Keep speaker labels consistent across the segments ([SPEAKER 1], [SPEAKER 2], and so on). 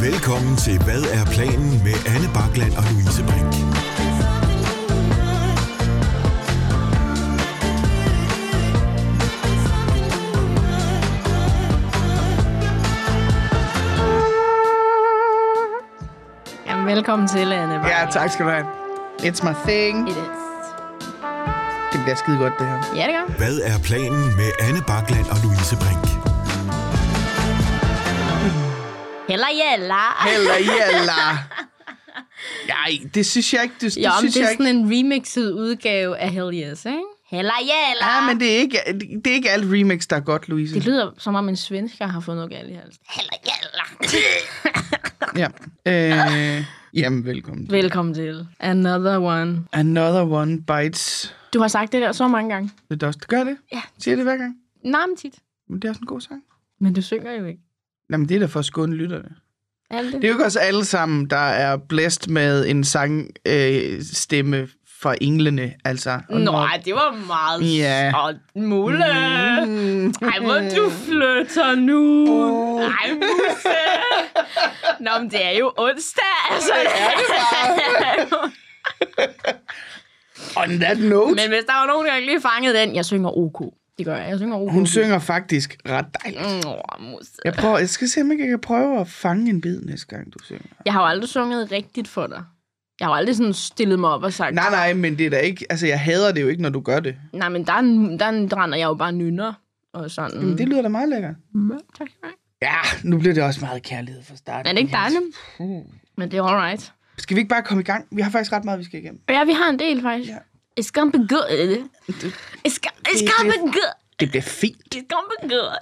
[SPEAKER 1] Velkommen til Hvad er planen med Anne Bakland og Louise Brink.
[SPEAKER 2] Jamen, velkommen til, Anne. Marie.
[SPEAKER 3] Ja, tak skal du have. It's my thing.
[SPEAKER 2] It is.
[SPEAKER 3] Det bliver skide godt, det her.
[SPEAKER 2] Ja, det gør.
[SPEAKER 1] Hvad er planen med Anne Bakland og Louise Brink?
[SPEAKER 2] Heller jæller.
[SPEAKER 3] Heller jalla. Nej, det synes jeg ikke. Det, det
[SPEAKER 2] Ja, men
[SPEAKER 3] synes
[SPEAKER 2] det er
[SPEAKER 3] jeg
[SPEAKER 2] sådan
[SPEAKER 3] ikke.
[SPEAKER 2] en remixet udgave af Hell Yes, ikke? Heller jæller.
[SPEAKER 3] Ja, men det er, ikke, det er ikke alt remix, der er godt, Louise.
[SPEAKER 2] Det lyder, som om en svensker har fået noget galt i halsen. Heller jæller.
[SPEAKER 3] Ja. Øh, jamen, velkommen. Vel.
[SPEAKER 2] Velkommen til Another One.
[SPEAKER 3] Another one bites
[SPEAKER 2] Du har sagt det der så mange gange.
[SPEAKER 3] the dust. Gør det?
[SPEAKER 2] Ja.
[SPEAKER 3] Siger det hver gang?
[SPEAKER 2] Nej, men tit.
[SPEAKER 3] Men det er også en god sang.
[SPEAKER 2] Men du synger jo ikke.
[SPEAKER 3] Jamen, det er da for at skåne lytterne.
[SPEAKER 2] Er det?
[SPEAKER 3] Det er jo ikke os alle sammen, der er blæst med en sangstemme øh, stemme fra englene, altså. Og når-
[SPEAKER 2] Nej, det var meget
[SPEAKER 3] Ja.
[SPEAKER 2] og mulle.
[SPEAKER 3] Mm.
[SPEAKER 2] Ej, hvor du flytter nu. Ej, musse. Nå, men det er jo onsdag, altså. Det er det bare.
[SPEAKER 3] On that note.
[SPEAKER 2] men hvis der var nogen, der ikke lige fangede den, jeg synger OK. Det gør jeg. Jeg synger OK.
[SPEAKER 3] Hun synger faktisk ret dejligt.
[SPEAKER 2] Mm, åh, musse.
[SPEAKER 3] Jeg, prøver, jeg skal se, om ikke jeg kan prøve at fange en bid næste gang, du synger.
[SPEAKER 2] Jeg har jo aldrig sunget rigtigt for dig. Jeg har jo aldrig sådan stillet mig op og sagt,
[SPEAKER 3] Nej, nej, men det er da ikke... Altså, jeg hader det jo ikke, når du gør det.
[SPEAKER 2] nej men der, er en- der, er en- der render jeg jo bare nynner. Og sådan.
[SPEAKER 3] Men det lyder da meget lækkert.
[SPEAKER 2] Mm, tak skal du have.
[SPEAKER 3] Ja, nu bliver det også meget kærlighed fra starten.
[SPEAKER 2] Er det ikke dejligt? Men det er all right.
[SPEAKER 3] Skal vi ikke bare komme i gang? Vi har faktisk ret meget, vi skal igennem.
[SPEAKER 2] Ja, vi har en del faktisk.
[SPEAKER 3] Ja.
[SPEAKER 2] It's gonna be good. It's, go- it's gonna be good.
[SPEAKER 3] Det bliver fint.
[SPEAKER 2] It's gonna be good.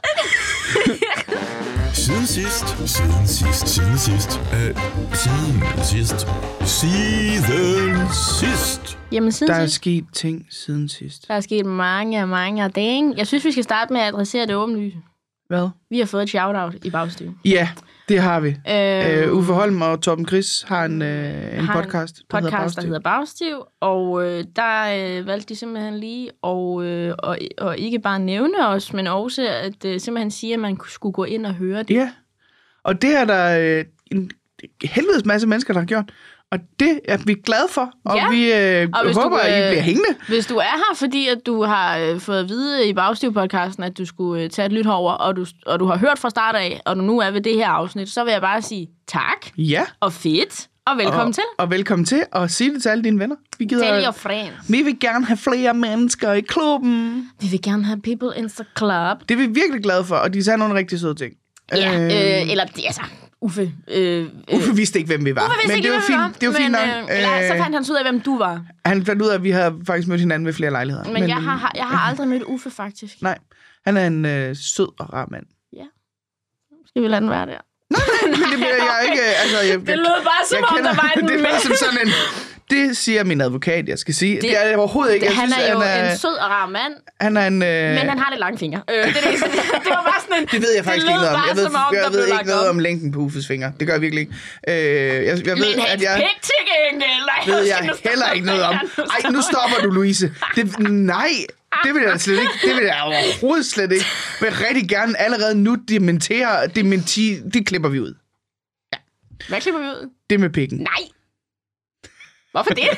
[SPEAKER 1] Siden sidst, siden sidst, siden sidst, øh, siden sidst, siden sidst.
[SPEAKER 2] Jamen, siden
[SPEAKER 3] Der
[SPEAKER 2] der,
[SPEAKER 3] er
[SPEAKER 2] sidst,
[SPEAKER 3] sket ting siden sidst.
[SPEAKER 2] der er sket mange og mange af dage. Jeg synes, vi skal starte med at adressere det åbenlyse.
[SPEAKER 3] Hvad?
[SPEAKER 2] Vi har fået et shout-out i bagstuen.
[SPEAKER 3] Ja, det har vi.
[SPEAKER 2] Øh,
[SPEAKER 3] Øh, Uffe Holm og Torben Chris har en, øh, en
[SPEAKER 2] har en
[SPEAKER 3] podcast, der hedder
[SPEAKER 2] podcast, der
[SPEAKER 3] Bagstiv.
[SPEAKER 2] hedder Bagstiv, og øh, der øh, valgte de simpelthen lige og, øh, og, og ikke bare nævne os, men også at øh, simpelthen sige, at man skulle gå ind og høre det.
[SPEAKER 3] Ja, og det er der øh, en helvedes masse mennesker, der har gjort. Og det er vi glade for, og
[SPEAKER 2] Ja.
[SPEAKER 3] vi øh,
[SPEAKER 2] Og hvis
[SPEAKER 3] og
[SPEAKER 2] du,
[SPEAKER 3] håber, at
[SPEAKER 2] øh,
[SPEAKER 3] I bliver hængende.
[SPEAKER 2] Hvis du er her, fordi at du har øh, fået at vide i Bagstiv-podcasten, at du skulle øh, tage et lyt over, og du, og du har hørt fra start af, og du nu er ved det her afsnit, så vil jeg bare sige tak,
[SPEAKER 3] Ja.
[SPEAKER 2] og fedt, og velkommen
[SPEAKER 3] og,
[SPEAKER 2] til.
[SPEAKER 3] Og velkommen til, og sig det til alle dine venner. Vi
[SPEAKER 2] Tell your
[SPEAKER 3] gider...
[SPEAKER 2] friends.
[SPEAKER 3] Vi vil gerne have flere mennesker i klubben.
[SPEAKER 2] Vi vil gerne have people in the club.
[SPEAKER 3] Det er vi virkelig glade for, og de sagde nogle rigtig søde ting.
[SPEAKER 2] Ja,
[SPEAKER 3] Øh,
[SPEAKER 2] øh, eller det er så Uffe. Øh, øh,
[SPEAKER 3] Uffe vidste ikke, hvem vi var.
[SPEAKER 2] Hvorfor vidste
[SPEAKER 3] men
[SPEAKER 2] ikke,
[SPEAKER 3] det var
[SPEAKER 2] hvem vi
[SPEAKER 3] fint, det var fint
[SPEAKER 2] men,
[SPEAKER 3] nok.
[SPEAKER 2] Øh, eller, så
[SPEAKER 3] Øh,
[SPEAKER 2] fandt han så ud af, hvem du var.
[SPEAKER 3] Han fandt ud af, at vi havde faktisk mødt hinanden ved flere lejligheder.
[SPEAKER 2] Men, men jeg, har, jeg har aldrig mødt Uffe, faktisk.
[SPEAKER 3] Nej, han er en øh, sød og rar mand.
[SPEAKER 2] Skal vi lade den være der?
[SPEAKER 3] Men det bliver jeg ikke... øh, Altså, jeg,
[SPEAKER 2] Det lød bare, som om der var en
[SPEAKER 3] det
[SPEAKER 2] mand.
[SPEAKER 3] er som sådan en... Det siger min advokat, jeg skal sige. Det, det er det overhovedet ikke. Jeg
[SPEAKER 2] Han
[SPEAKER 3] synes,
[SPEAKER 2] er jo
[SPEAKER 3] han er,
[SPEAKER 2] en sød og rar mand,
[SPEAKER 3] han er en... Øh,
[SPEAKER 2] men han har lidt lange fingre. Øh, det, er det, eneste. det var bare sådan en...
[SPEAKER 3] det ved jeg faktisk
[SPEAKER 2] det
[SPEAKER 3] ikke noget om.
[SPEAKER 2] Bare,
[SPEAKER 3] Jeg ved,
[SPEAKER 2] som om,
[SPEAKER 3] jeg
[SPEAKER 2] der blev
[SPEAKER 3] ved ikke
[SPEAKER 2] lagt
[SPEAKER 3] noget
[SPEAKER 2] op.
[SPEAKER 3] om længden på Uffes fingre. Det gør jeg virkelig ikke. Øh, jeg, jeg ved,
[SPEAKER 2] Men hans
[SPEAKER 3] at jeg...
[SPEAKER 2] pik til gengæld. Nej,
[SPEAKER 3] ved
[SPEAKER 2] skal
[SPEAKER 3] jeg
[SPEAKER 2] nu stoppe.
[SPEAKER 3] heller ikke noget om.
[SPEAKER 2] Ja,
[SPEAKER 3] Ej, nu stopper du, Louise. Det, nej, det vil jeg da slet ikke. Det vil jeg overhovedet slet ikke. Jeg vil rigtig gerne allerede nu dementere. Dementi, det klipper vi ud.
[SPEAKER 2] Hvad klipper vi ud?
[SPEAKER 3] Det med pikken.
[SPEAKER 2] Nej. Hvorfor det?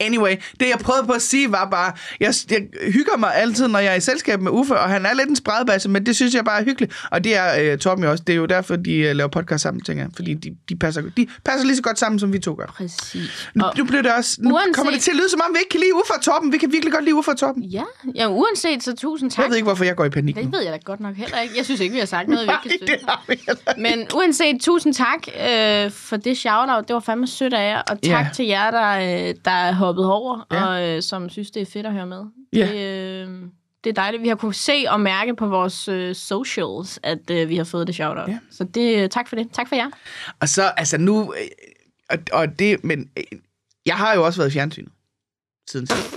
[SPEAKER 3] Anyway, det jeg prøvede på at sige var bare, jeg, jeg hygger mig altid, når jeg er i selskab med Uffe, og han er lidt en spredbasse, men det synes jeg bare er hyggeligt. Og det er øh, Torben jo også. Det er jo derfor, de øh, laver podcast sammen, tænker jeg. Fordi de, de, passer, de passer lige så godt sammen, som vi to gør.
[SPEAKER 2] Præcis.
[SPEAKER 3] Nu,
[SPEAKER 2] Og,
[SPEAKER 3] nu, bliver det også, nu
[SPEAKER 2] uanset-
[SPEAKER 3] kommer det til at lyde, som om vi ikke kan lide Uffe og Torben. Vi kan virkelig godt lide Uffe og Torben.
[SPEAKER 2] ja, ja, uanset så tusind tak.
[SPEAKER 3] Jeg ved ikke, hvorfor jeg går i panik nu.
[SPEAKER 2] Det ved jeg da godt nok heller ikke. Jeg synes ikke, vi har sagt noget, vi ikke kan støtte.
[SPEAKER 3] har vi heller ikke.
[SPEAKER 2] Men uanset, tusind tak øh, for det shout-out. Det var fandme sødt af jer. Og tak
[SPEAKER 3] Ja.
[SPEAKER 2] til jer, der, øh, der er hoppet over,
[SPEAKER 3] Ja.
[SPEAKER 2] og øh, som synes, det er fedt at høre med.
[SPEAKER 3] Ja.
[SPEAKER 2] Det, øh, det er dejligt. Vi har kunnet se og mærke på vores øh, socials, at øh, vi har fået det shout-out.
[SPEAKER 3] Ja.
[SPEAKER 2] Så det, øh, tak for det. Tak for jer.
[SPEAKER 3] Og så, altså nu, øh, og, og det, men øh, jeg har jo også været i fjernsynet siden sidst.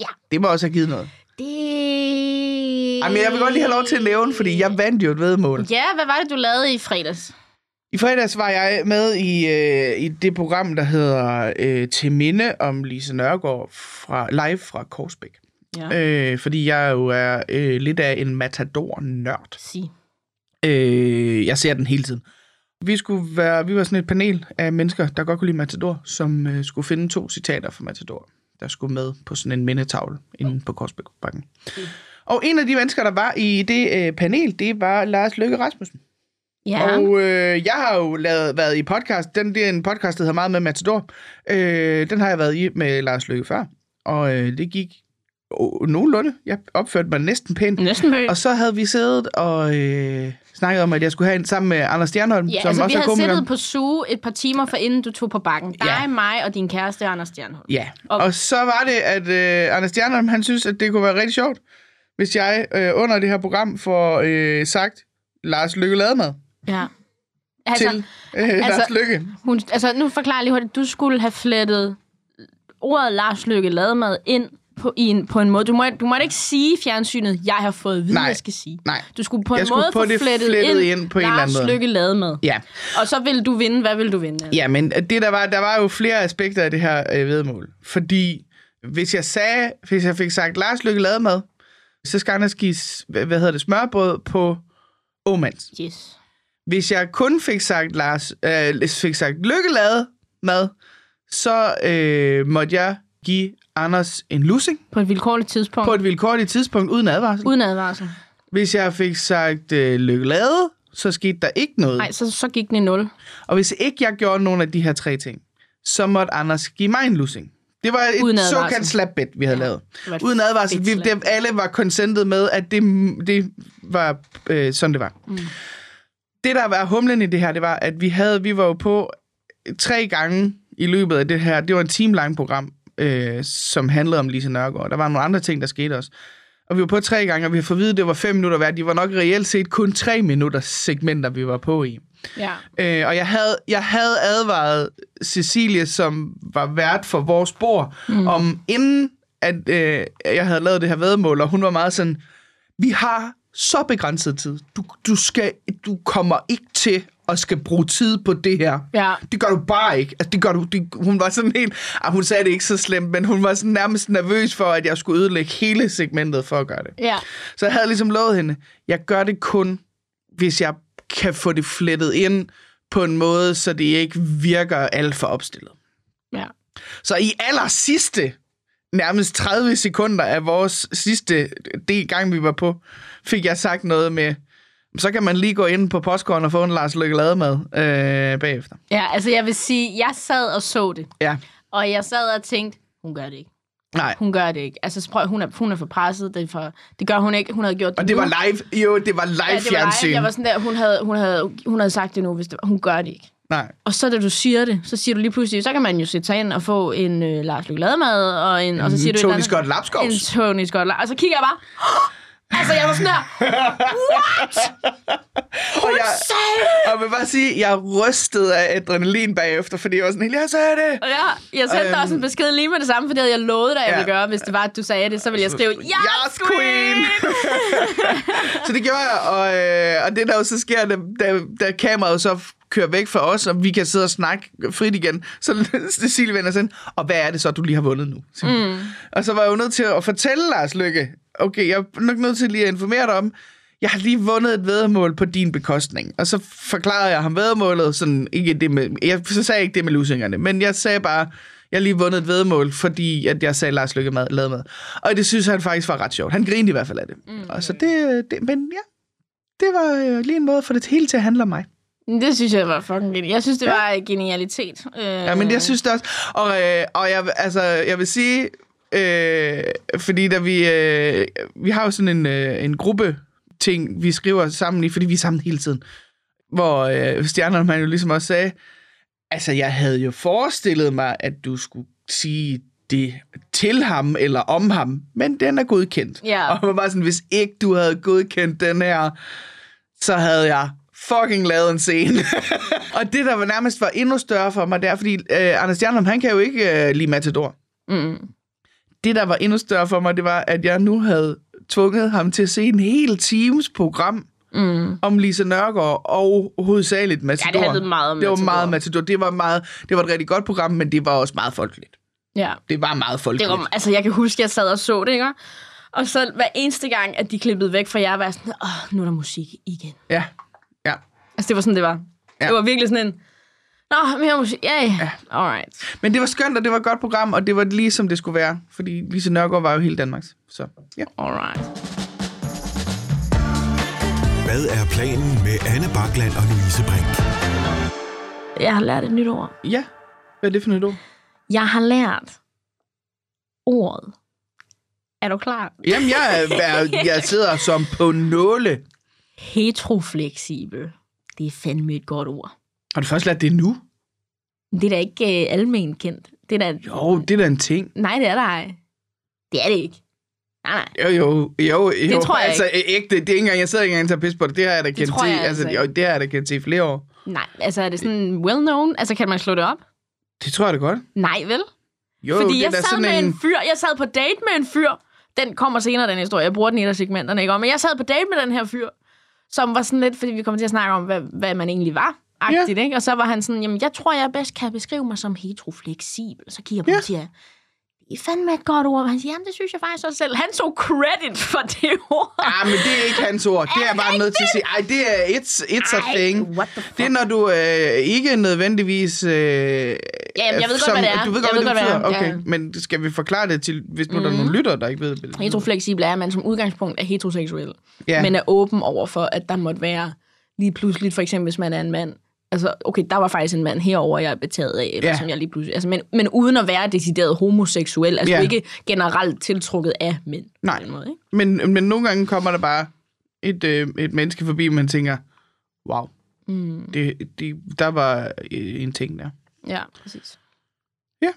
[SPEAKER 2] Ja.
[SPEAKER 3] Det må også have givet noget.
[SPEAKER 2] Det...
[SPEAKER 3] Ej, men jeg vil godt lige have lov til at nævne, fordi jeg vandt jo et vedmål.
[SPEAKER 2] Ja, hvad var det, du lavede i fredags?
[SPEAKER 3] I fredags var jeg med i, øh, i det program, der hedder øh, Til Minde om Lise Nørgaard fra, live fra Korsbæk.
[SPEAKER 2] Ja.
[SPEAKER 3] Øh, fordi jeg jo er øh, lidt af en matador-nørd.
[SPEAKER 2] Sig.
[SPEAKER 3] Øh, jeg ser den hele tiden. Vi, skulle være, vi var sådan et panel af mennesker, der godt kunne lide Matador, som øh, skulle finde to citater fra Matador, der skulle med på sådan en mindetavle inde på Korsbækbakken. Og en af de mennesker, der var i det øh, panel, det var Lars Løkke Rasmussen.
[SPEAKER 2] Ja.
[SPEAKER 3] Og øh, jeg har jo lavet, været i podcast. Den, det er en podcast, der hedder meget med Matador. Øh, den har jeg været i med Lars Løkke før. Og øh, det gik oh, nogenlunde. Jeg opførte mig næsten pænt.
[SPEAKER 2] Næsten mødt.
[SPEAKER 3] Og så havde vi siddet og øh, snakket om, at jeg skulle have en sammen med Anders Stjernholm,
[SPEAKER 2] Ja,
[SPEAKER 3] som
[SPEAKER 2] altså, vi
[SPEAKER 3] også er
[SPEAKER 2] havde
[SPEAKER 3] komiker.
[SPEAKER 2] siddet på suge et par timer, for inden du tog på bakken. Dig,
[SPEAKER 3] Ja.
[SPEAKER 2] mig og din kæreste, Anders Stjernholm.
[SPEAKER 3] Ja,
[SPEAKER 2] Og-
[SPEAKER 3] og, og så var det, at øh, Anders Stjernholm, han synes, at det kunne være rigtig sjovt, hvis jeg øh, under det her program får øh, sagt Lars Lykke Lademad
[SPEAKER 2] Ja.
[SPEAKER 3] altså,
[SPEAKER 2] Altså,
[SPEAKER 3] til øh, altså, Lars Lykke.
[SPEAKER 2] hun, altså, nu forklarer jeg lige hurtigt. Du skulle have flettet ordet Lars Løkke Lademad ind på, i en, på en måde. Du må, du må ikke sige i fjernsynet, jeg har fået at vide,
[SPEAKER 3] Nej.
[SPEAKER 2] jeg skal sige.
[SPEAKER 3] Nej.
[SPEAKER 2] Du skulle på en
[SPEAKER 3] Jeg skulle
[SPEAKER 2] måde
[SPEAKER 3] få
[SPEAKER 2] få
[SPEAKER 3] det
[SPEAKER 2] flettet,
[SPEAKER 3] flettet
[SPEAKER 2] ind,
[SPEAKER 3] ind på en eller anden
[SPEAKER 2] Lars
[SPEAKER 3] måde.
[SPEAKER 2] Løkke Lademad.
[SPEAKER 3] Ja.
[SPEAKER 2] Og så vil du vinde. Hvad vil du vinde?
[SPEAKER 3] ja, men det der var, der var jo flere aspekter af det her øh, vedmål. Fordi hvis jeg sagde, hvis jeg fik sagt Lars Lykke Lademad, så skal Anders give, s- hvad hvad hedder det, smørbrød på Åmands.
[SPEAKER 2] Yes.
[SPEAKER 3] Hvis jeg kun fik sagt, Lars, øh, fik sagt lykkelade mad, så øh, måtte jeg give Anders en lussing
[SPEAKER 2] På et vilkårligt tidspunkt.
[SPEAKER 3] på et vilkårligt tidspunkt uden advarsel.
[SPEAKER 2] Uden advarsel.
[SPEAKER 3] Hvis jeg fik sagt øh, lykkelade, så skete der ikke noget.
[SPEAKER 2] Nej, så, så gik den i nul.
[SPEAKER 3] Og hvis ikke jeg gjorde nogen af de her tre ting, så måtte Anders give mig en lussing. Det var et
[SPEAKER 2] Uden advarsel.
[SPEAKER 3] såkaldt slapbet, vi havde ja, lavet.
[SPEAKER 2] det var et
[SPEAKER 3] Uden advarsel.
[SPEAKER 2] fedt
[SPEAKER 3] Vi,
[SPEAKER 2] slap.
[SPEAKER 3] det, alle var konsentet med, at det, det var øh, sådan, det var. Mm. Det, der var humlen i det her, det var, at vi havde, vi var jo på tre gange i løbet af det her. Det var en time lang program, øh, som handlede om Lise Nørgaard. Der var nogle andre ting, der skete også. Og vi var på tre gange, og vi har fået at vide, at det var fem minutter hver. De var nok reelt set kun tre minutters segmenter, vi var på i.
[SPEAKER 2] Ja.
[SPEAKER 3] Øh, og jeg havde, jeg havde advaret Cecilie, som var vært for vores bord, mm. om inden at øh, jeg havde lavet det her vedmål, og hun var meget sådan, vi har så begrænset tid. Du, du, skal, du kommer ikke til at skal bruge tid på det her.
[SPEAKER 2] Ja.
[SPEAKER 3] Det gør du bare ikke. Altså, det gør du, det, hun var sådan helt... Ah, hun sagde det ikke så slemt, men hun var sådan nærmest nervøs for, at jeg skulle ødelægge hele segmentet for at gøre det.
[SPEAKER 2] Ja.
[SPEAKER 3] Så jeg havde ligesom lovet hende, jeg gør det kun, hvis jeg kan få det flettet ind på en måde, så det ikke virker alt for opstillet.
[SPEAKER 2] ja.
[SPEAKER 3] Så i aller sidste, nærmest 30 sekunder af vores sidste del gang, vi var på, fik jeg sagt noget med, så kan man lige gå ind på postkorn og få en Lars Løkke Lademad øh, bagefter.
[SPEAKER 2] Ja, altså jeg vil sige, jeg sad og så det.
[SPEAKER 3] Ja,
[SPEAKER 2] Og jeg sad og tænkte, hun gør det ikke.
[SPEAKER 3] nej.
[SPEAKER 2] Hun gør det ikke. Altså, så prøv, hun, er, hun er for presset. Det, er for, det gør hun ikke. Hun havde gjort det
[SPEAKER 3] Og det var
[SPEAKER 2] nu.
[SPEAKER 3] live. Jo, det var live
[SPEAKER 2] ja, det var
[SPEAKER 3] fjernsyn.
[SPEAKER 2] live. Jeg var sådan der, hun havde, hun havde, hun havde sagt det nu, hvis det var. Hun gør det ikke.
[SPEAKER 3] Nej.
[SPEAKER 2] Og så da du siger det, så siger du lige pludselig, så kan man jo sætte sig ind og få en øh, Lars Løkke Lademad, og, en, og så siger du et eller
[SPEAKER 3] Tony
[SPEAKER 2] andet-
[SPEAKER 3] Scott Lapskovs.
[SPEAKER 2] En Tony Scott Lap- Og så kigger jeg bare, altså jeg var sådan der,
[SPEAKER 3] Og jeg,
[SPEAKER 2] sagde
[SPEAKER 3] og jeg vil bare sige, jeg rystede af adrenalin bagefter, fordi jeg var sådan helt, jeg sagde det.
[SPEAKER 2] Og jeg, jeg sendte dig
[SPEAKER 3] Øhm.
[SPEAKER 2] også en besked lige med det samme, for det havde jeg lovet dig, jeg
[SPEAKER 3] Ja.
[SPEAKER 2] ville gøre. Hvis det var, at du sagde det, så ville jeg skrive, ja,
[SPEAKER 3] Yes, queen! så det gjorde jeg, og, øh, og det der jo så sker, da, da, da kameraet så f- kører væk fra os, og vi kan sidde og snakke frit igen, så Cecilie vender sådan, og hvad er det så, du lige har vundet nu? Mm. Og så var jeg jo nødt til at fortælle Lars Lykke, okay, jeg er nok nødt til lige at informere dig om, jeg har lige vundet et vedmål på din bekostning. Og så forklarede jeg ham vedmålet, sådan, ikke det med, jeg, så sagde jeg ikke det med lusingerne, men jeg sagde bare, jeg har lige vundet et vedmål, fordi at jeg sagde Lars Lykke mad, lavede mad. Og det synes han faktisk var ret sjovt. Han grinede i hvert fald af det. Mm. Og så det, det, men ja, det var øh, lige en måde for det hele til at handle om mig.
[SPEAKER 2] Det synes jeg var fucking genialt. Jeg synes, det var genialitet. Øh,
[SPEAKER 3] Ja, men jeg synes det også. Og, øh, og jeg, altså, jeg vil sige, øh, fordi da vi, øh, vi har jo sådan en, øh, en gruppe ting, vi skriver sammen i, fordi vi er sammen hele tiden. Hvor øh, stjernerne, man jo ligesom også sagde, altså jeg havde jo forestillet mig, at du skulle sige det til ham eller om ham, men den er godkendt.
[SPEAKER 2] Ja.
[SPEAKER 3] Og man var sådan, hvis ikke du havde godkendt den her, så havde jeg fucking lavet en scene. og det, der var nærmest var endnu større for mig, det er, fordi øh, Anders Stjernholm, han kan jo ikke øh, lide Matador.
[SPEAKER 2] Mm.
[SPEAKER 3] Det, der var endnu større for mig, det var, at jeg nu havde tvunget ham til at se en hel times program
[SPEAKER 2] Mm.
[SPEAKER 3] om Lise Nørgaard og hovedsageligt Matador.
[SPEAKER 2] handlede meget om
[SPEAKER 3] Det var
[SPEAKER 2] Matador.
[SPEAKER 3] meget Matador. Det var, meget, det var et rigtig godt program, men det var også meget folkeligt.
[SPEAKER 2] Ja.
[SPEAKER 3] Det var meget folkeligt.
[SPEAKER 2] Det var, altså, jeg kan huske, jeg sad og så det, ikke? Og så hver eneste gang, at de klippede væk fra jer, var jeg sådan, åh, nu er der musik igen.
[SPEAKER 3] Ja, ja,
[SPEAKER 2] Altså, det var sådan, det var.
[SPEAKER 3] Ja.
[SPEAKER 4] Ja. Det var virkelig sådan en...
[SPEAKER 2] Nå, mere musik. Ja, ja. Alright.
[SPEAKER 3] Men det var skønt, og det var et godt program, og det var lige som det skulle være. Fordi Lise Nørgaard var jo hele Danmarks. Så ja.
[SPEAKER 2] Alright.
[SPEAKER 1] Hvad er planen med Anne Bakland og Louise Brink?
[SPEAKER 2] Jeg har lært et nyt ord.
[SPEAKER 3] Ja. Hvad er det for et ord?
[SPEAKER 2] Jeg har lært ordet. Er du klar?
[SPEAKER 3] Jamen, jeg, jeg, jeg sidder som på nåle.
[SPEAKER 2] Heterofleksibel. Det er fandme et godt ord.
[SPEAKER 3] Har du først lært det nu?
[SPEAKER 2] Det er da ikke øh, almen kendt. Det er da...
[SPEAKER 3] Jo, det er da en ting.
[SPEAKER 2] Nej, det er der ej. Det er det ikke. Nej, nej.
[SPEAKER 3] Jo, jo, jo. jo.
[SPEAKER 2] Det tror jeg
[SPEAKER 3] altså, ægte, det er ikke engang, jeg sidder ikke engang og tager pis på det. Det har jeg da kendt
[SPEAKER 2] tror
[SPEAKER 3] til.
[SPEAKER 2] jeg altså
[SPEAKER 3] Altså,
[SPEAKER 2] ikke.
[SPEAKER 3] jo, det har jeg da kendt til i flere år.
[SPEAKER 2] Nej, altså er det sådan well-known? Altså kan man slå det op?
[SPEAKER 3] Det tror jeg da godt.
[SPEAKER 2] Nej, vel?
[SPEAKER 3] Jo,
[SPEAKER 2] Fordi
[SPEAKER 3] det er
[SPEAKER 2] jeg
[SPEAKER 3] da
[SPEAKER 2] sad
[SPEAKER 3] sådan
[SPEAKER 2] med
[SPEAKER 3] en...
[SPEAKER 2] en fyr, jeg sad på date med en fyr. Den kommer senere, den historie. Jeg bruger den i et af segmenterne, ikke? Og- Men jeg sad på date med den her fyr, som var sådan lidt, fordi vi kom til at snakke om, hvad, hvad man egentlig var. Agtigt, ikke? Og så var han sådan, jamen, jeg tror, jeg bedst kan beskrive mig som heterofleksibel. Så kigger jeg på ham og siger, det er fandme et godt ord. Og Han siger, jamen, det synes jeg faktisk også selv. Han tog credit for det ord.
[SPEAKER 3] Ah, men det er ikke hans ord. Det er
[SPEAKER 2] Er
[SPEAKER 3] jeg bare
[SPEAKER 2] det
[SPEAKER 3] nødt til at sige. Ej, det er it's, it's a
[SPEAKER 2] Ej,
[SPEAKER 3] thing.
[SPEAKER 2] what the fuck?
[SPEAKER 3] Det er, når du øh, ikke nødvendigvis... Øh, ja, jeg
[SPEAKER 2] jeg ved godt, hvad det er.
[SPEAKER 3] Du ved
[SPEAKER 2] Jeg
[SPEAKER 3] godt,
[SPEAKER 2] ved
[SPEAKER 3] hvad det
[SPEAKER 2] godt, hvad
[SPEAKER 3] betyder.
[SPEAKER 2] det er.
[SPEAKER 3] Okay,
[SPEAKER 2] Ja. Mhm.
[SPEAKER 3] men skal vi forklare det til, hvis nu mm. der er nogle lytter, der ikke ved, hvad det betyder?
[SPEAKER 2] Heterofleksibel er, at man som udgangspunkt er heteroseksuel.
[SPEAKER 3] Ja.
[SPEAKER 2] Ja. Men er åben over for, at der måtte være lige pludselig, for eksempel hvis man er en mand. Altså, okay, der var faktisk en mand herover, jeg er betaget af, eller
[SPEAKER 3] Ja.
[SPEAKER 2] ja. som jeg lige pludselig... Altså, men, men uden at være decideret homoseksuel. Altså,
[SPEAKER 3] Ja.
[SPEAKER 2] ja. du er ikke generelt tiltrukket af mænd. på
[SPEAKER 3] Nej.
[SPEAKER 2] den Måde, ikke?
[SPEAKER 3] Men, men nogle gange kommer der bare et, øh, et menneske forbi, og man tænker, wow, mm. det, det, der var øh, en ting der.
[SPEAKER 2] Ja, præcis.
[SPEAKER 3] Ja.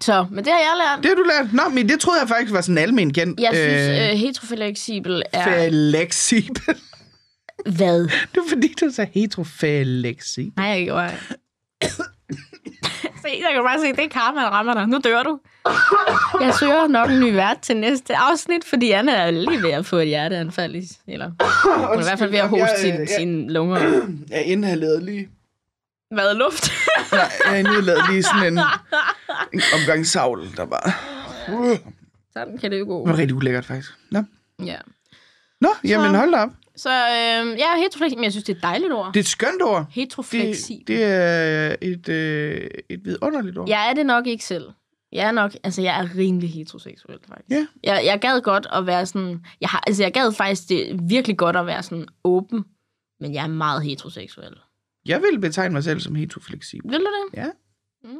[SPEAKER 2] Så, men det har jeg lært.
[SPEAKER 3] Det har du lært. Nå, men det troede jeg faktisk var sådan almen kendt.
[SPEAKER 2] Jeg synes, øh, heterofleksibel er...
[SPEAKER 3] Fleksibel.
[SPEAKER 2] Hvad?
[SPEAKER 3] Det er fordi, du sagde heterofleksibel.
[SPEAKER 2] Nej, jeg gjorde ikke. se, jeg kan bare se, det er karma, der rammer dig. Nu dør du. Jeg søger nok en ny vært til næste afsnit, fordi Anna er lige ved at få et hjerteanfald. i- Eller hun er i hvert fald ved at hoste
[SPEAKER 3] Jeg, øh,
[SPEAKER 2] sine,
[SPEAKER 3] jeg-
[SPEAKER 2] sine lunger.
[SPEAKER 3] Jeg indhalerede lige.
[SPEAKER 2] Hvad luft?
[SPEAKER 3] Nej, jeg indhalerede lige sådan en, en omgang savl, der var... Uh,
[SPEAKER 2] Sådan kan det jo gå.
[SPEAKER 3] det var rigtig ulækkert, faktisk. Nå,
[SPEAKER 2] Ja.
[SPEAKER 3] Nå jamen hold da op.
[SPEAKER 2] Så øh, jeg er heterofleksibel, men jeg synes, det er et dejligt ord.
[SPEAKER 3] Det er et skønt ord. Det,
[SPEAKER 2] Heterofleksibel.
[SPEAKER 3] det er et, øh, et vidunderligt ord.
[SPEAKER 2] Jeg er det nok ikke selv. Jeg er nok, altså jeg er rimelig heteroseksuel faktisk.
[SPEAKER 3] Ja.
[SPEAKER 2] Jeg, jeg gad godt at være sådan, jeg har, altså jeg gad faktisk det virkelig godt at være sådan åben, men jeg er meget heteroseksuel.
[SPEAKER 3] Jeg vil betegne mig selv som heterofleksibel.
[SPEAKER 2] Vil du det?
[SPEAKER 3] Ja.
[SPEAKER 2] Mm.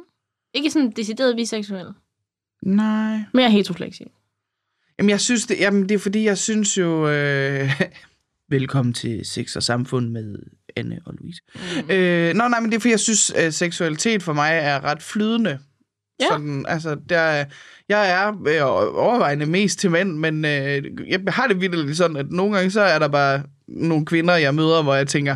[SPEAKER 2] Ikke sådan decideret biseksuel,
[SPEAKER 3] Nej.
[SPEAKER 2] men jeg er heterofleksibel.
[SPEAKER 3] Jamen, jeg synes det, jamen, det er fordi, jeg synes jo... Øh, velkommen til Sex og Samfund med Anne og Louise. Mm. Øh, nå, nej, men det er fordi, jeg synes, øh, seksualitet for mig er ret flydende.
[SPEAKER 2] Ja.
[SPEAKER 3] Sådan, altså, der, er- jeg er øh, overvejende mest til mænd, men øh, jeg har det vildt sådan, at nogle gange så er der bare nogle kvinder, jeg møder, hvor jeg tænker,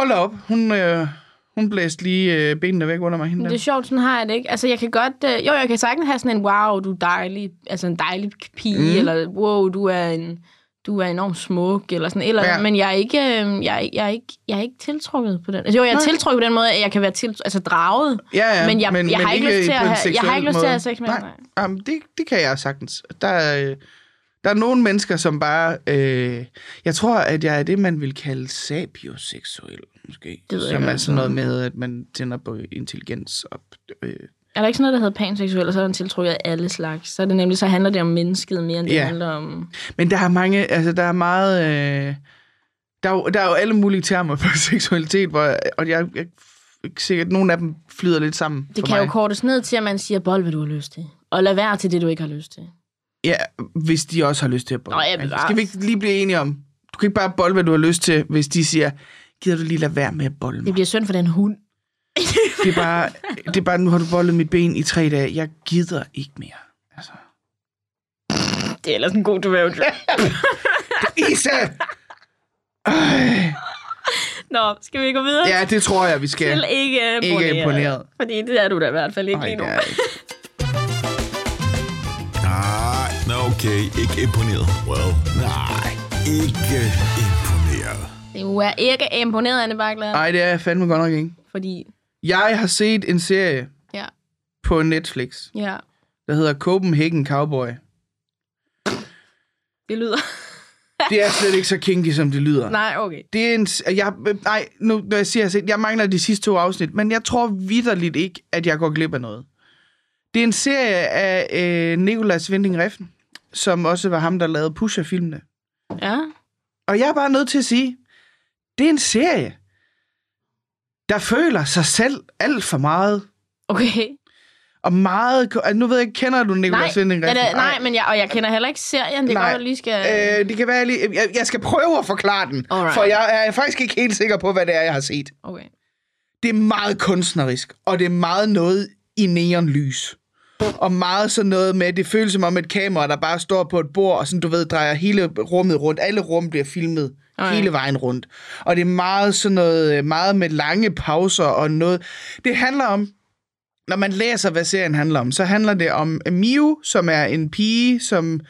[SPEAKER 3] hold da op, hun, øh, hun blæste lige øh, benene væk under mig. Hende
[SPEAKER 2] Men
[SPEAKER 3] der.
[SPEAKER 2] det er sjovt, sådan har jeg det ikke. Altså, jeg kan godt... Øh, jo, jeg kan sagtens have sådan en, wow, du er dejlig, altså en dejlig pige,
[SPEAKER 3] Mm.
[SPEAKER 2] mm. eller wow, du er en du er enormt smuk, eller sådan et eller andet.
[SPEAKER 3] Ja.
[SPEAKER 2] Ja. Men jeg er, ikke, øh, jeg, er, ikke- jeg, er ikke, jeg er ikke tiltrukket på den. Altså, jo, jeg er
[SPEAKER 3] Nej.
[SPEAKER 2] tiltrukket på den måde, at jeg kan være tiltrukket, altså draget.
[SPEAKER 3] Ja, ja.
[SPEAKER 2] Men jeg- jeg har ikke lyst til
[SPEAKER 3] på
[SPEAKER 2] at have-
[SPEAKER 3] en
[SPEAKER 2] jeg har
[SPEAKER 3] seksuel
[SPEAKER 2] ikke lyst til at
[SPEAKER 3] måde.
[SPEAKER 2] have sex med
[SPEAKER 3] Nej,
[SPEAKER 2] andre.
[SPEAKER 3] Jamen, det, det kan jeg sagtens. Der, er, øh, der er nogle mennesker, som bare... Øh, jeg tror, at jeg er det, man vil kalde sabioseksuel, måske.
[SPEAKER 2] Det ved jeg
[SPEAKER 3] som
[SPEAKER 2] ikke, altså.
[SPEAKER 3] er sådan noget med, at man tænder på intelligens. Og, øh,
[SPEAKER 2] Er der ikke sådan noget, der hedder panseksuel, og så er den tiltrukket af alle slags? Så er det nemlig, så handler det om mennesket mere, end det
[SPEAKER 3] Ja.
[SPEAKER 2] ja. handler om...
[SPEAKER 3] men der er mange... Altså, der er meget... Øh, der, er jo, der er jo alle mulige termer for seksualitet, hvor, og jeg, jeg sikkert, nogle af dem flyder lidt sammen
[SPEAKER 2] Det
[SPEAKER 3] for
[SPEAKER 2] kan
[SPEAKER 3] mig.
[SPEAKER 2] jo kortes ned til, at man siger, bold, hvad du har lyst til. Og lad være til det, du ikke har lyst til.
[SPEAKER 3] Ja, hvis de også har lyst til at bolle.
[SPEAKER 2] Nå, ja,
[SPEAKER 3] Altså,
[SPEAKER 2] bevares.
[SPEAKER 3] Skal vi ikke lige blive enige om, du kan ikke bare bolle, hvad du har lyst til, hvis de siger, gider du lige lade være med at bolle
[SPEAKER 2] Det
[SPEAKER 3] mig?
[SPEAKER 2] bliver synd for den hund.
[SPEAKER 3] Det er bare, det er bare nu har du bollet mit ben i tre dage. Jeg gider ikke mere. Altså.
[SPEAKER 2] Det er ellers en god dvæv.
[SPEAKER 3] Isa!
[SPEAKER 2] Nå, skal vi gå videre?
[SPEAKER 3] Ja, det tror jeg, vi
[SPEAKER 2] Til
[SPEAKER 3] skal.
[SPEAKER 2] ikke imponeret.
[SPEAKER 3] Ikke imponeret.
[SPEAKER 2] Fordi det er du da i hvert fald ikke
[SPEAKER 3] Nej,
[SPEAKER 2] lige nu.
[SPEAKER 3] det er jeg ikke.
[SPEAKER 1] Nej, nå okay, ikke imponeret. Well, nej, ikke imponeret.
[SPEAKER 2] Du er ikke imponeret, Anne Bakland.
[SPEAKER 3] Ej, det er jeg fandme godt nok ikke.
[SPEAKER 2] Fordi,
[SPEAKER 3] Jeg har set en serie
[SPEAKER 2] ja,
[SPEAKER 3] på Netflix,
[SPEAKER 2] ja,
[SPEAKER 3] der hedder Copenhagen Cowboy.
[SPEAKER 2] det lyder...
[SPEAKER 3] Det er slet ikke så kinky, som det lyder.
[SPEAKER 2] Nej, okay.
[SPEAKER 3] Det er en... s- Jeg, øh, nej, nu når jeg siger, jeg, har set- jeg mangler de sidste to afsnit, men jeg tror vidderligt ikke, at jeg går glip af noget. Det er en serie af øh, Nicolas Winding Refn, som også var ham, der lavede Pusher-filmene.
[SPEAKER 2] Ja.
[SPEAKER 3] Og jeg er bare nødt til at sige, det er en serie, der føler sig selv alt for meget.
[SPEAKER 2] Okay.
[SPEAKER 3] Og meget... ko- Altså, nu ved jeg ikke, kender du
[SPEAKER 2] Nej,
[SPEAKER 3] Nicolas Winding
[SPEAKER 2] den
[SPEAKER 3] Refn?
[SPEAKER 2] er, nej, men jeg, og jeg kender heller ikke serien. Det er
[SPEAKER 3] Nej.
[SPEAKER 2] godt, at lige skal...
[SPEAKER 3] Øh, det kan være, jeg, lige, jeg, jeg skal prøve at forklare den,
[SPEAKER 2] Alright.
[SPEAKER 3] for jeg er faktisk ikke helt sikker på, hvad det er, jeg har set.
[SPEAKER 2] Okay.
[SPEAKER 3] det er meget kunstnerisk, og det er meget noget i neonlys. Og meget sådan noget med, det føles som om et kamera, der bare står på et bord, og sådan, du ved, drejer hele rummet rundt. Alle rum bliver filmet
[SPEAKER 2] Ej.
[SPEAKER 3] hele vejen rundt. Og det er meget sådan noget, øh, meget med lange pauser og noget. Det handler om, når man læser, hvad serien handler om, så handler det om Miu, som er en pige, som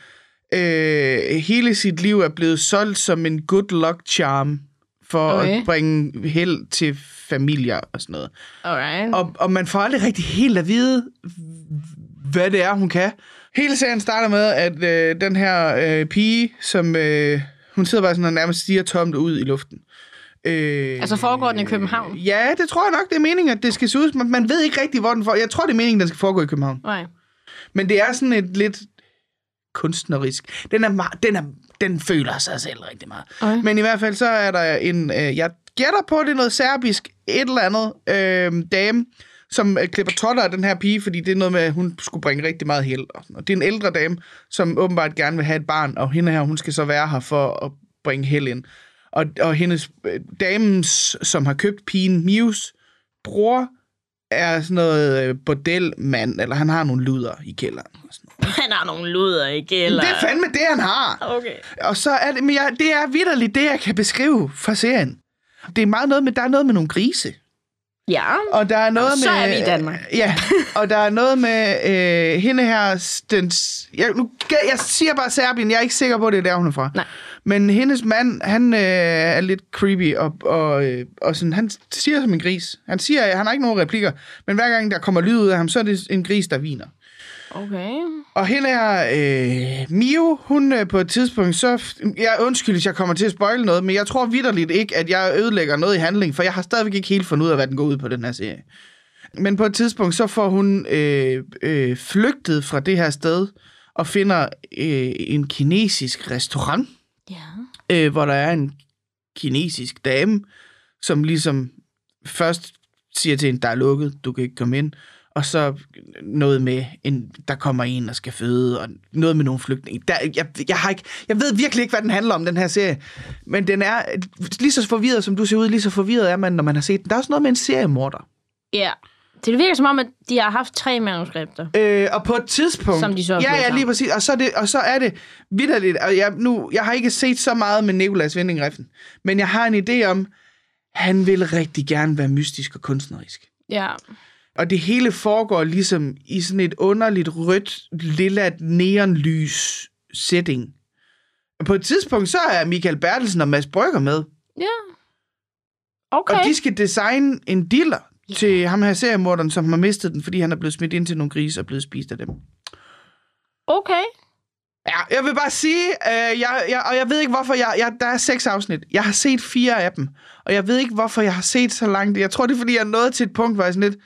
[SPEAKER 3] øh, hele sit liv er blevet solgt som en good luck charm for okay.
[SPEAKER 2] Okay.
[SPEAKER 3] at bringe held til familier og sådan noget.
[SPEAKER 2] Alright.
[SPEAKER 3] Og, og man får aldrig rigtig helt at vide, hvad det er, hun kan. Hele serien starter med, at øh, den her øh, pige, som øh, hun sidder bare sådan og nærmest stiger tomt ud i luften. Øh,
[SPEAKER 2] Altså foregår den i København?
[SPEAKER 3] Ja, det tror jeg nok, det er meningen, at det skal se ud. Man, man ved ikke rigtig, hvor den får. Jeg tror, det er meningen, den skal foregå i København.
[SPEAKER 2] Nej.
[SPEAKER 3] Men det er sådan et lidt kunstnerisk. Den, er meget, den, er, den føler sig selv rigtig meget.
[SPEAKER 2] Okay.
[SPEAKER 3] Men i hvert fald så er der en, øh, jeg gætter på, det er noget serbisk, et eller andet øh, dame, som øh, klipper totter af den her pige, fordi det er noget med, at hun skulle bringe rigtig meget held. Og sådan noget. det er en ældre dame, som åbenbart gerne vil have et barn, og hende her, hun skal så være her for at bringe held ind. Og, og hendes øh, damens, som har købt pigen Mius, bror er sådan noget øh, bordelmand, eller han har nogle luder i kælderen. Og sådan noget.
[SPEAKER 2] Han har nogle luder, ikke? Eller...
[SPEAKER 3] Det er fandme det, han har.
[SPEAKER 2] Okay.
[SPEAKER 3] Og så er det, men jeg, det er vidderligt det, jeg kan beskrive fra serien. Det er meget noget med, der er noget med nogle grise.
[SPEAKER 2] Ja.
[SPEAKER 3] Og der er noget
[SPEAKER 2] så
[SPEAKER 3] med... øh,
[SPEAKER 2] er vi i Danmark.
[SPEAKER 3] Ja, og der er noget med øh, hende her... s- Den, s- jeg, nu, gæ- jeg siger bare Serbien, jeg er ikke sikker på, det er der, hun er fra.
[SPEAKER 2] Nej.
[SPEAKER 3] Men hendes mand, han øh, er lidt creepy, og, og, øh, og sådan, han siger som en gris. Han siger, han har ikke nogen replikker, men hver gang der kommer lyd ud af ham, så er det en gris, der viner.
[SPEAKER 2] Okay.
[SPEAKER 3] Og hende her, øh, Mio, hun øh, på et tidspunkt, så... Jeg undskyld, hvis jeg kommer til at spoile noget, men jeg tror vidderligt ikke, at jeg ødelægger noget i handling, for jeg har stadigvæk ikke helt fundet ud af, hvad den går ud på den her serie. Men på et tidspunkt, så får hun øh, øh, flygtet fra det her sted og finder øh, en kinesisk restaurant,
[SPEAKER 2] Ja.
[SPEAKER 3] øh, hvor der er en kinesisk dame, som ligesom først siger til en, der er lukket, du kan ikke komme ind, og så noget med, en, der kommer en, der skal føde, og noget med nogle flygtninge. Der, jeg, jeg, har ikke, jeg ved virkelig ikke, hvad den handler om, den her serie. Men den er lige så forvirret, som du ser ud, lige så forvirret er man, når man har set den. Der er også noget med en seriemorder.
[SPEAKER 2] Ja. Det virker som om, at de har haft tre manuskripter.
[SPEAKER 3] Øh, og på et tidspunkt...
[SPEAKER 2] Som de så har
[SPEAKER 3] Ja,
[SPEAKER 2] slået
[SPEAKER 3] ja,
[SPEAKER 2] sammen.
[SPEAKER 3] lige præcis. Og så er det, og så er det vidderligt. Og jeg, nu, jeg har ikke set så meget med Nicolas Winding Refn, men jeg har en idé om, han vil rigtig gerne være mystisk og kunstnerisk.
[SPEAKER 2] Ja.
[SPEAKER 3] Og det hele foregår ligesom i sådan et underligt rødt, lilla neonlys setting. På et tidspunkt, så er Michael Bertelsen og Mads Brygger med,
[SPEAKER 2] Ja.
[SPEAKER 3] og
[SPEAKER 2] Okay.
[SPEAKER 3] de skal designe en diller til ham her seriemorderen, som har mistet den, fordi han er blevet smidt ind til nogle grise og blevet spist af dem.
[SPEAKER 2] Okay.
[SPEAKER 3] Ja, jeg vil bare sige, øh, jeg, jeg, og jeg ved ikke hvorfor, jeg, jeg, der er seks afsnit. Jeg har set fire af dem, og jeg ved ikke hvorfor, jeg har set så langt. Jeg tror, det er, fordi jeg nåede til et punkt, hvor jeg sådan lidt,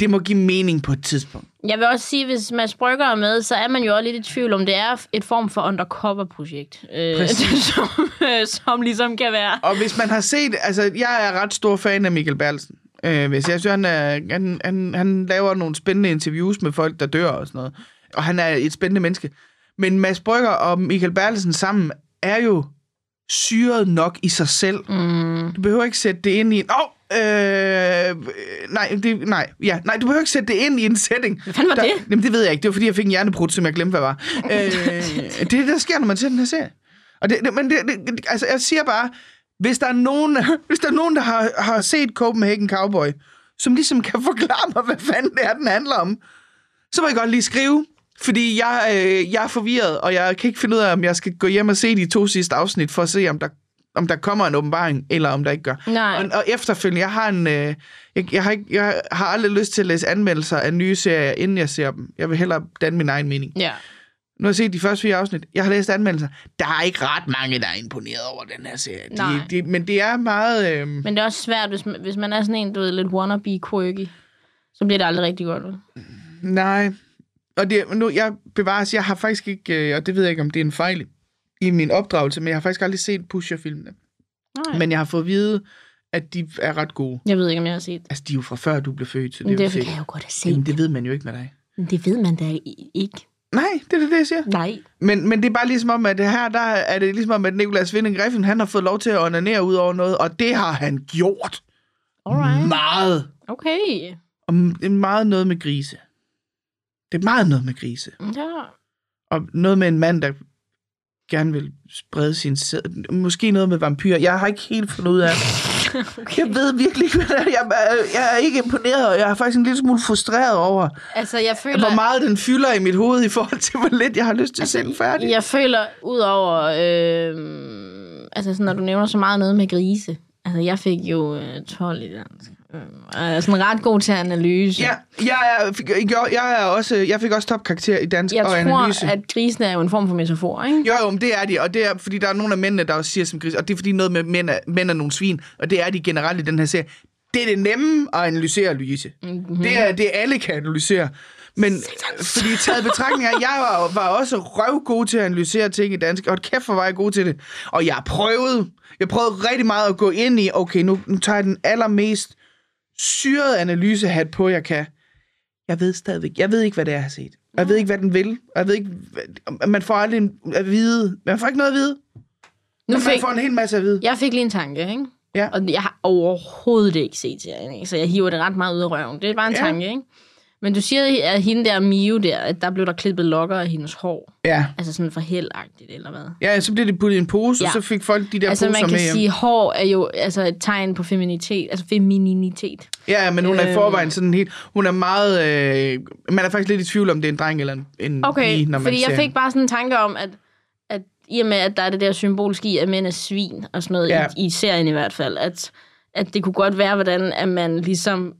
[SPEAKER 3] det må give mening på et tidspunkt.
[SPEAKER 2] Jeg vil også sige, at hvis Mads Brygger er med, så er man jo også lidt i tvivl om, det er et form for undercover-projekt. Øh,
[SPEAKER 3] Præcis.
[SPEAKER 2] som, øh, som ligesom kan være...
[SPEAKER 3] Og hvis man har set, altså jeg er ret stor fan af Michael Berlsen. Øh, hvis jeg synes, han, er, han, han, han laver nogle spændende interviews med folk, der dør og sådan noget. Og han er et spændende menneske. Men Mads Brygger og Michael Berlsen sammen er jo syret nok i sig selv.
[SPEAKER 2] Mm.
[SPEAKER 3] Du behøver ikke sætte det ind i en... Åh, oh, øh, nej, det, nej, ja, nej, du behøver ikke sætte det ind i en setting.
[SPEAKER 2] Hvad fanden var
[SPEAKER 3] der,
[SPEAKER 2] det?
[SPEAKER 3] Jamen, det ved jeg ikke. Det var, fordi jeg fik en hjernebrud, som jeg glemte, hvad var. øh, det er det, der sker, når man ser den her serie. Og det, det, men det, det, altså, jeg siger bare, hvis der er nogen, hvis der, er nogen der har, har set Copenhagen Cowboy, som ligesom kan forklare mig, hvad fanden det er, den handler om, så må I godt lige skrive, fordi jeg, øh, jeg er forvirret, og jeg kan ikke finde ud af, om jeg skal gå hjem og se de to sidste afsnit, for at se, om der, om der kommer en åbenbaring, eller om der ikke gør.
[SPEAKER 2] Nej.
[SPEAKER 3] Og, og efterfølgende, jeg har, en, øh, jeg, jeg, har ikke, jeg har aldrig lyst til at læse anmeldelser af nye serier, inden jeg ser dem. Jeg vil hellere danne min egen mening.
[SPEAKER 2] Ja.
[SPEAKER 3] Nu har jeg set de første fire afsnit. Jeg har læst anmeldelser. Der er ikke ret mange, der er imponeret over den her serie.
[SPEAKER 2] Nej.
[SPEAKER 3] De, de, men det er meget... Øh,
[SPEAKER 2] Men det er også svært, hvis man, hvis man er sådan en, du ved, lidt wannabe-quirky. Så bliver det aldrig rigtig godt ud.
[SPEAKER 3] Nej. Og det, nu, jeg bevares, jeg har faktisk ikke, øh, og det ved jeg ikke, om det er en fejl i min opdragelse, men jeg har faktisk aldrig set Pusher-filmene.
[SPEAKER 2] Nej.
[SPEAKER 3] Men jeg har fået at vide, at de er ret gode.
[SPEAKER 2] Jeg ved ikke, om jeg har set det.
[SPEAKER 3] Altså, de er jo fra før, du blev født, så det,
[SPEAKER 2] Men
[SPEAKER 3] er jo
[SPEAKER 2] det kan
[SPEAKER 3] sikkert.
[SPEAKER 2] jeg jo godt have set.
[SPEAKER 3] Jamen, det ved man jo ikke med dig.
[SPEAKER 2] Men det ved man da i- ikke.
[SPEAKER 3] Nej, det er da det, jeg siger.
[SPEAKER 2] Nej.
[SPEAKER 3] Men, men det er bare ligesom om, at her der er det ligesom om, at Nicolas Winding Griffin, han har fået lov til at onanere ud over noget, og det har han gjort
[SPEAKER 2] Alright.
[SPEAKER 3] meget.
[SPEAKER 2] Okay.
[SPEAKER 3] Og det er meget noget med grise. Det er meget noget med grise.
[SPEAKER 2] Ja.
[SPEAKER 3] Og noget med en mand, der gerne vil sprede sin sæd. Måske noget med vampyr. Jeg har ikke helt fundet ud af det.
[SPEAKER 2] Okay.
[SPEAKER 3] Jeg ved virkelig ikke, hvad det er. Jeg, er- jeg er ikke imponeret, og jeg er faktisk en lille smule frustreret over,
[SPEAKER 2] Altså, jeg føler...
[SPEAKER 3] hvor meget den fylder i mit hoved i forhold til, hvor lidt jeg har lyst til at se den færdig.
[SPEAKER 2] Altså, Jeg føler, udover... Øh, altså, sådan, når du nævner så meget noget med grise. Altså, jeg fik jo øh, 12 i dansk. Øh, og jeg er sådan ret god til analyse.
[SPEAKER 3] Ja, jeg, er, fik- jeg, jeg, er også, jeg fik også topkarakter i dansk
[SPEAKER 2] Jeg
[SPEAKER 3] og
[SPEAKER 2] tror,
[SPEAKER 3] analyse.
[SPEAKER 2] at grisen er jo en form for metafor, ikke?
[SPEAKER 3] Jo, jo, men det er de, og det er, fordi der er nogle af mændene, der også siger som gris, og det er fordi noget med mænd er, mænd er nogle svin, og det er de generelt i den her serie. Det er det nemme at analysere, Louise. Mm-hmm. Det er det, alle kan analysere. Men fordi taget i betragtning af, jeg var, var også røvgod til at analysere ting i dansk, og kæft for var jeg god til det. Og jeg prøvede, jeg prøvede rigtig meget at gå ind i, okay, nu, nu tager jeg den allermest syrede analysehat på, jeg kan. Jeg ved stadigvæk, jeg ved ikke, hvad det er, jeg har set. Og jeg ved ikke, hvad den vil. Og jeg ved ikke, hvad- man får aldrig en, at vide. Man får ikke noget at vide.
[SPEAKER 2] Nu
[SPEAKER 3] Man
[SPEAKER 2] fik,
[SPEAKER 3] får en hel masse at vide.
[SPEAKER 2] jeg fik lige en tanke, ikke?
[SPEAKER 3] Ja.
[SPEAKER 2] Og jeg har overhovedet ikke set serien, ikke? så jeg hiver det ret meget ud af røven. Det er bare en
[SPEAKER 3] Ja.
[SPEAKER 2] ja. tanke, ikke? Men du siger, at hende der Mio der, at der blev der klippet lokker af hendes hår.
[SPEAKER 3] Ja.
[SPEAKER 2] Altså sådan for heldagtigt, eller hvad?
[SPEAKER 3] Ja, så blev det puttet i en pose, ja. og
[SPEAKER 2] Ja.
[SPEAKER 3] så fik folk de der
[SPEAKER 2] altså
[SPEAKER 3] poser
[SPEAKER 2] man kan
[SPEAKER 3] med hjem.
[SPEAKER 2] sige, hår er jo altså et tegn på feminitet, altså femininitet.
[SPEAKER 3] Ja, ja, men hun er i
[SPEAKER 2] Øh.
[SPEAKER 3] forvejen sådan helt... Hun er meget... Øh, man er faktisk lidt i tvivl om, det er en dreng eller en, en
[SPEAKER 2] Okay,
[SPEAKER 3] pige, når man
[SPEAKER 2] fordi
[SPEAKER 3] ser
[SPEAKER 2] jeg
[SPEAKER 3] hende.
[SPEAKER 2] fik bare sådan en tanke om, at, at i og med, at der er det der symbolske i, at mænd er svin og sådan noget,
[SPEAKER 3] Ja.
[SPEAKER 2] ja. i, i serien i hvert fald, at, at det kunne godt være, hvordan at man ligesom,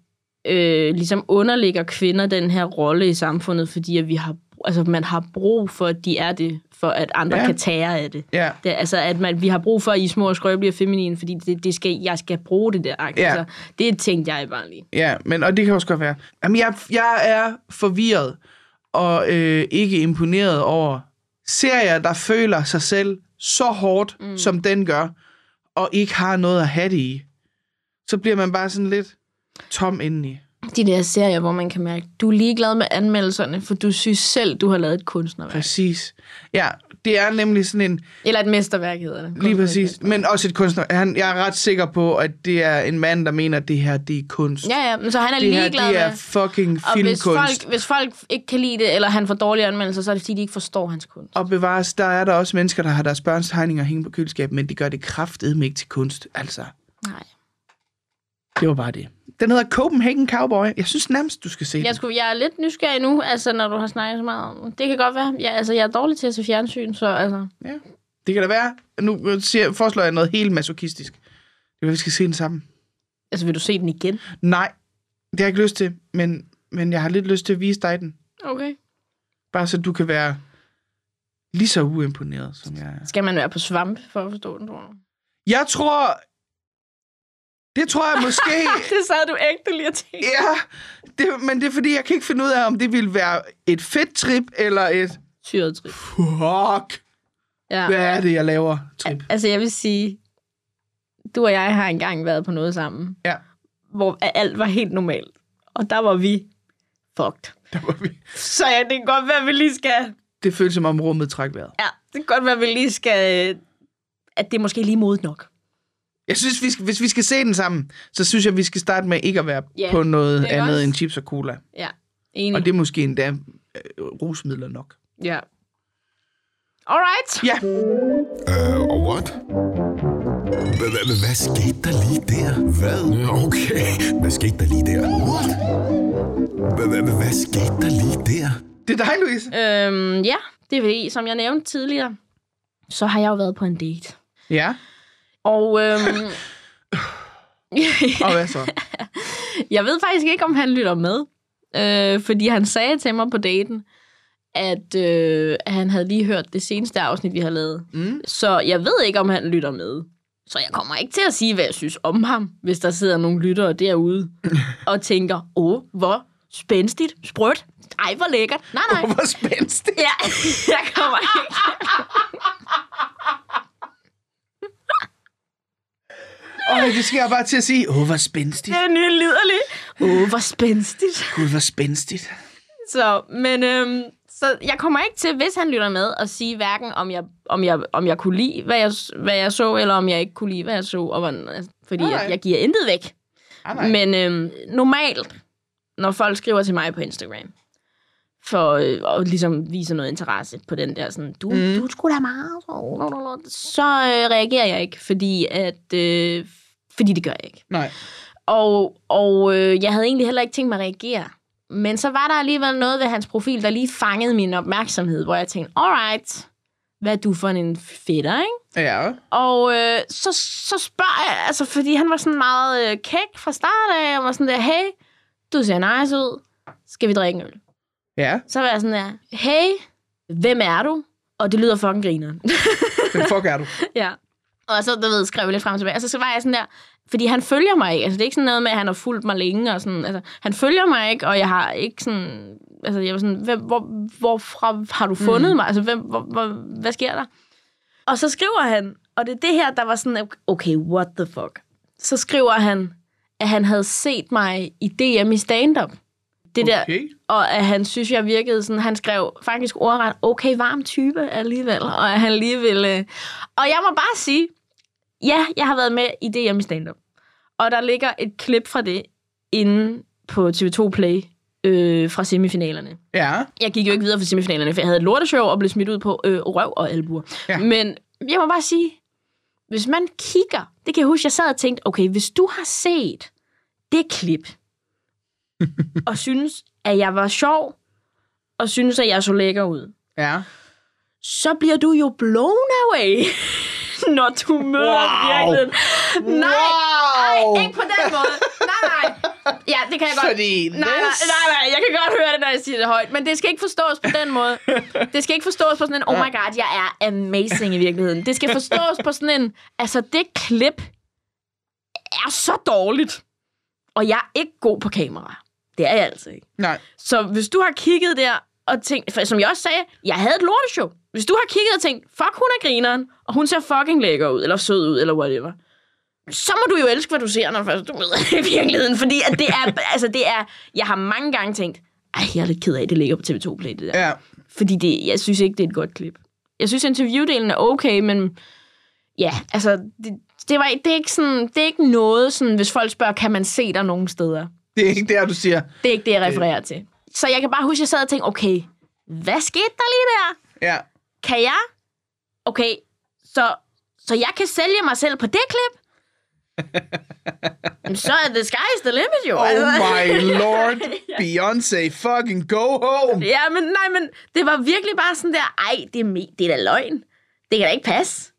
[SPEAKER 2] øh, ligesom underlægger kvinder den her rolle i samfundet, fordi at vi har, altså, man har brug for, at de er det, for at andre
[SPEAKER 3] Ja.
[SPEAKER 2] ja. kan tære af det.
[SPEAKER 3] Ja.
[SPEAKER 2] Det, er altså, at man, vi har brug for, at I er små og skrøbelige og feminine, fordi det, det skal, jeg skal bruge det der.
[SPEAKER 3] Ja.
[SPEAKER 2] Ja. Altså, det tænkte jeg bare lige.
[SPEAKER 3] Ja, men, og det kan også godt være. Jamen, jeg, jeg er forvirret og øh, ikke imponeret over serier, der føler sig selv så hårdt, mm. som den gør, og ikke har noget at have det i. Så bliver man bare sådan lidt tom indeni.
[SPEAKER 2] De der serier, hvor man kan mærke, du er ligeglad med anmeldelserne, for du synes selv, du har lavet et kunstnerværk.
[SPEAKER 3] Præcis. Ja, det er nemlig sådan en...
[SPEAKER 2] Eller et mesterværk hedder det.
[SPEAKER 3] Lige præcis. Men også et kunstner. Han, jeg er ret sikker på, at det er en mand, der mener, at det her, det er kunst.
[SPEAKER 2] Ja, ja, men så han er
[SPEAKER 3] det her,
[SPEAKER 2] ligeglad
[SPEAKER 3] det er
[SPEAKER 2] med...
[SPEAKER 3] fucking
[SPEAKER 2] Og hvis
[SPEAKER 3] filmkunst.
[SPEAKER 2] folk, hvis folk ikke kan lide det, eller han får dårlige anmeldelser, så er det fordi, de ikke forstår hans kunst.
[SPEAKER 3] Og bevares, der er der også mennesker, der har deres børns tegninger hænge på køleskabet, men de gør det kraftedeme ikke til kunst. Altså,
[SPEAKER 2] Nej.
[SPEAKER 3] det var bare det. Den hedder Copenhagen Cowboy. Jeg synes nærmest, du skal se
[SPEAKER 2] Jeg,
[SPEAKER 3] den.
[SPEAKER 2] skulle, jeg er lidt nysgerrig nu, altså, når du har snakket så meget om det. Det kan godt være. Jeg, altså, jeg er dårlig til at se fjernsyn, så altså...
[SPEAKER 3] Ja. Det kan da være. Nu siger, foreslår jeg noget helt masochistisk. Det er, at vi skal se den sammen.
[SPEAKER 2] Altså, vil du se den igen?
[SPEAKER 3] Nej, det har jeg ikke lyst til, men, men jeg har lidt lyst til at vise dig den.
[SPEAKER 2] Okay.
[SPEAKER 3] Bare så du kan være lige så uimponeret, som jeg er.
[SPEAKER 2] Skal man være på svamp for at forstå den, tror du?
[SPEAKER 3] Jeg tror... Det tror jeg måske...
[SPEAKER 2] Det sad du ægte lige og tænkte.
[SPEAKER 3] Ja, det, men det er fordi, jeg kan ikke finde ud af, om det ville være et fedt trip, eller et
[SPEAKER 2] Syret trip.
[SPEAKER 3] fuck,
[SPEAKER 2] Ja.
[SPEAKER 3] hvad er det, jeg laver trip.
[SPEAKER 2] Altså, jeg vil sige, du og jeg har engang været på noget sammen,
[SPEAKER 3] Ja,
[SPEAKER 2] hvor alt var helt normalt. Og der var vi fucked.
[SPEAKER 3] der var vi.
[SPEAKER 2] Så ja, det kan godt være, at vi lige skal...
[SPEAKER 3] Det føles som om rummet træk vejret.
[SPEAKER 2] Ja, det kan godt være, at vi lige skal... øh, At det er måske lige modigt nok.
[SPEAKER 3] Jeg synes, vi skal, hvis vi skal se den sammen, så synes jeg, vi skal starte med ikke at være
[SPEAKER 2] Ja,
[SPEAKER 3] på noget
[SPEAKER 2] det er Mm.
[SPEAKER 3] andet
[SPEAKER 2] også-
[SPEAKER 3] end chips og cola.
[SPEAKER 2] Ja, enig.
[SPEAKER 3] Og det er måske endda øh, rusmidler nok.
[SPEAKER 2] Ja. Alright.
[SPEAKER 3] Ja,
[SPEAKER 1] Øh, og what? Hva- hva- hva- Hvad skete der lige der? Hvad? Okay, hvad skete der lige der? What? Hva- hva- hva- Hvad skete der lige der?
[SPEAKER 3] det er dig, Louise.
[SPEAKER 2] Øhm, ja, det vil I. Som jeg nævnte tidligere, så har jeg jo været på en date.
[SPEAKER 3] Ja,
[SPEAKER 2] Og øhm,
[SPEAKER 3] og hvad så?
[SPEAKER 2] jeg ved faktisk ikke, om han lytter med. Øh, fordi han sagde til mig på daten, at øh, han havde lige hørt det seneste afsnit, vi har lavet. Mm. Så jeg ved ikke, om han lytter med. Så jeg kommer ikke til at sige, hvad jeg synes om ham, hvis der sidder nogle lyttere derude og tænker, åh, hvor spændstigt, sprødt, ej, hvor lækkert. Nej, nej.
[SPEAKER 3] Hvor spændstigt.
[SPEAKER 2] Ja, jeg kommer ikke.
[SPEAKER 3] Åh, det skal jeg bare til at sige. Åh, hvor spændstigt.
[SPEAKER 2] Det er nyliderligt. Åh, hvor spændstigt.
[SPEAKER 3] Gud, hvor spændstigt.
[SPEAKER 2] Så, men øhm, så jeg kommer ikke til, hvis han lytter med, at sige hverken, om jeg, om jeg, om jeg kunne lide, hvad jeg, hvad jeg så, eller om jeg ikke kunne lide, hvad jeg så. Og hvordan, altså, fordi
[SPEAKER 3] Nej,
[SPEAKER 2] jeg,
[SPEAKER 3] nej.
[SPEAKER 2] jeg giver intet væk.
[SPEAKER 3] Ah, nej.
[SPEAKER 2] Men øhm, normalt, når folk skriver til mig på Instagram, for øh, at ligesom vise noget interesse på den der sådan, du, mm. du er sgu da meget, så- så øh, reagerer jeg ikke, fordi at, øh, fordi det gør jeg ikke.
[SPEAKER 3] nej.
[SPEAKER 2] Og, og øh, jeg havde egentlig heller ikke tænkt mig at reagere. Men så var der alligevel noget ved hans profil, der lige fangede min opmærksomhed, hvor jeg tænkte, alright, hvad er du for en fætter, ikke?
[SPEAKER 3] Ja.
[SPEAKER 2] Og øh, så, så spørger jeg, altså, fordi han var sådan meget øh, kæk fra start af, og var sådan der, hey, du ser nice ud, skal vi drikke en øl?
[SPEAKER 3] Ja,
[SPEAKER 2] Så var jeg sådan der, hey, hvem er du? Og det lyder fucking grineren.
[SPEAKER 3] den fuck er du.
[SPEAKER 2] Ja. Og så, du ved, skrev jeg lidt frem og tilbage. Og så var jeg sådan der, fordi han følger mig ikke. Altså, det er ikke sådan noget med, at han har fulgt mig længe. Og sådan, altså, han følger mig ikke, og jeg har ikke sådan... Altså, jeg var sådan, hvem, hvor, hvorfra har du fundet mm. mig? Altså, hvem, hvor, hvor, hvad sker der? Og så skriver han, og det er det her, der var sådan, okay, what the fuck? Så skriver han, at han havde set mig i DM i stand-up. Det der,
[SPEAKER 3] Okay.
[SPEAKER 2] og at han synes, jeg virkede sådan, han skrev faktisk ordret, okay, varm type alligevel, og at han lige ville... øh. Og jeg må bare sige, ja, jeg har været med i det hjemme stand-up. Og der ligger et klip fra det inde på TV2 Play øh, fra semifinalerne.
[SPEAKER 3] Ja.
[SPEAKER 2] Jeg gik jo ikke videre fra semifinalerne, for jeg havde et lorteshow og blev smidt ud på øh, røv og albuer.
[SPEAKER 3] Ja.
[SPEAKER 2] Ja. Men jeg må bare sige, hvis man kigger, det kan jeg huske, jeg sad og tænkte, okay, hvis du har set det klip, og synes, at jeg var sjov, og synes, at jeg så lækker ud,
[SPEAKER 3] Ja.
[SPEAKER 2] så bliver du jo blown away, når du møder
[SPEAKER 3] Wow.
[SPEAKER 2] virkeligheden. Nej,
[SPEAKER 3] Wow.
[SPEAKER 2] nej, ikke på den måde. Nej, nej. Ja, det kan jeg godt.
[SPEAKER 3] Fordi
[SPEAKER 2] Nej, nej,
[SPEAKER 3] this-
[SPEAKER 2] nej, nej, jeg kan godt høre det, når jeg siger det højt, men det skal ikke forstås på den måde. Det skal ikke forstås på sådan en, oh my god, jeg er amazing i virkeligheden. Det skal forstås på sådan en, altså det klip er så dårligt, og jeg er ikke god på kamera. Det er jeg altså ikke.
[SPEAKER 3] Nej.
[SPEAKER 2] Så hvis du har kigget der og tænkt, for som jeg også sagde, jeg havde et lorteshow. Hvis du har kigget og tænkt, fuck, hun er grineren, og hun ser fucking lækker ud, eller sød ud, eller whatever, så må du jo elske, hvad du ser, når først du møder i virkeligheden. Fordi at det er, altså det er, jeg har mange gange tænkt, ej, jeg er lidt ked af, at det ligger på TV2 Play, det der.
[SPEAKER 3] Ja.
[SPEAKER 2] Fordi det, jeg synes ikke, det er et godt klip. Jeg synes, interviewdelen er okay, men ja, altså, det, det, var, ikke- det, er, ikke sådan, det er ikke noget, sådan, hvis folk spørger, kan man se dig nogen steder?
[SPEAKER 3] Det er ikke der, du siger.
[SPEAKER 2] Det er ikke det, jeg refererer til. Så jeg kan bare huske, at jeg sad og tænkte, okay, hvad skete der lige der?
[SPEAKER 3] Ja.
[SPEAKER 2] Kan jeg? Okay, så, så jeg kan sælge mig selv på det klip? Jamen, så er det sky's the limit, jo.
[SPEAKER 3] Oh
[SPEAKER 2] Altså.
[SPEAKER 3] my lord. Beyoncé, fucking go home.
[SPEAKER 2] Ja, men nej, men det var virkelig bare sådan der, ej, det er, me- det er da løgn. Det kan da ikke passe.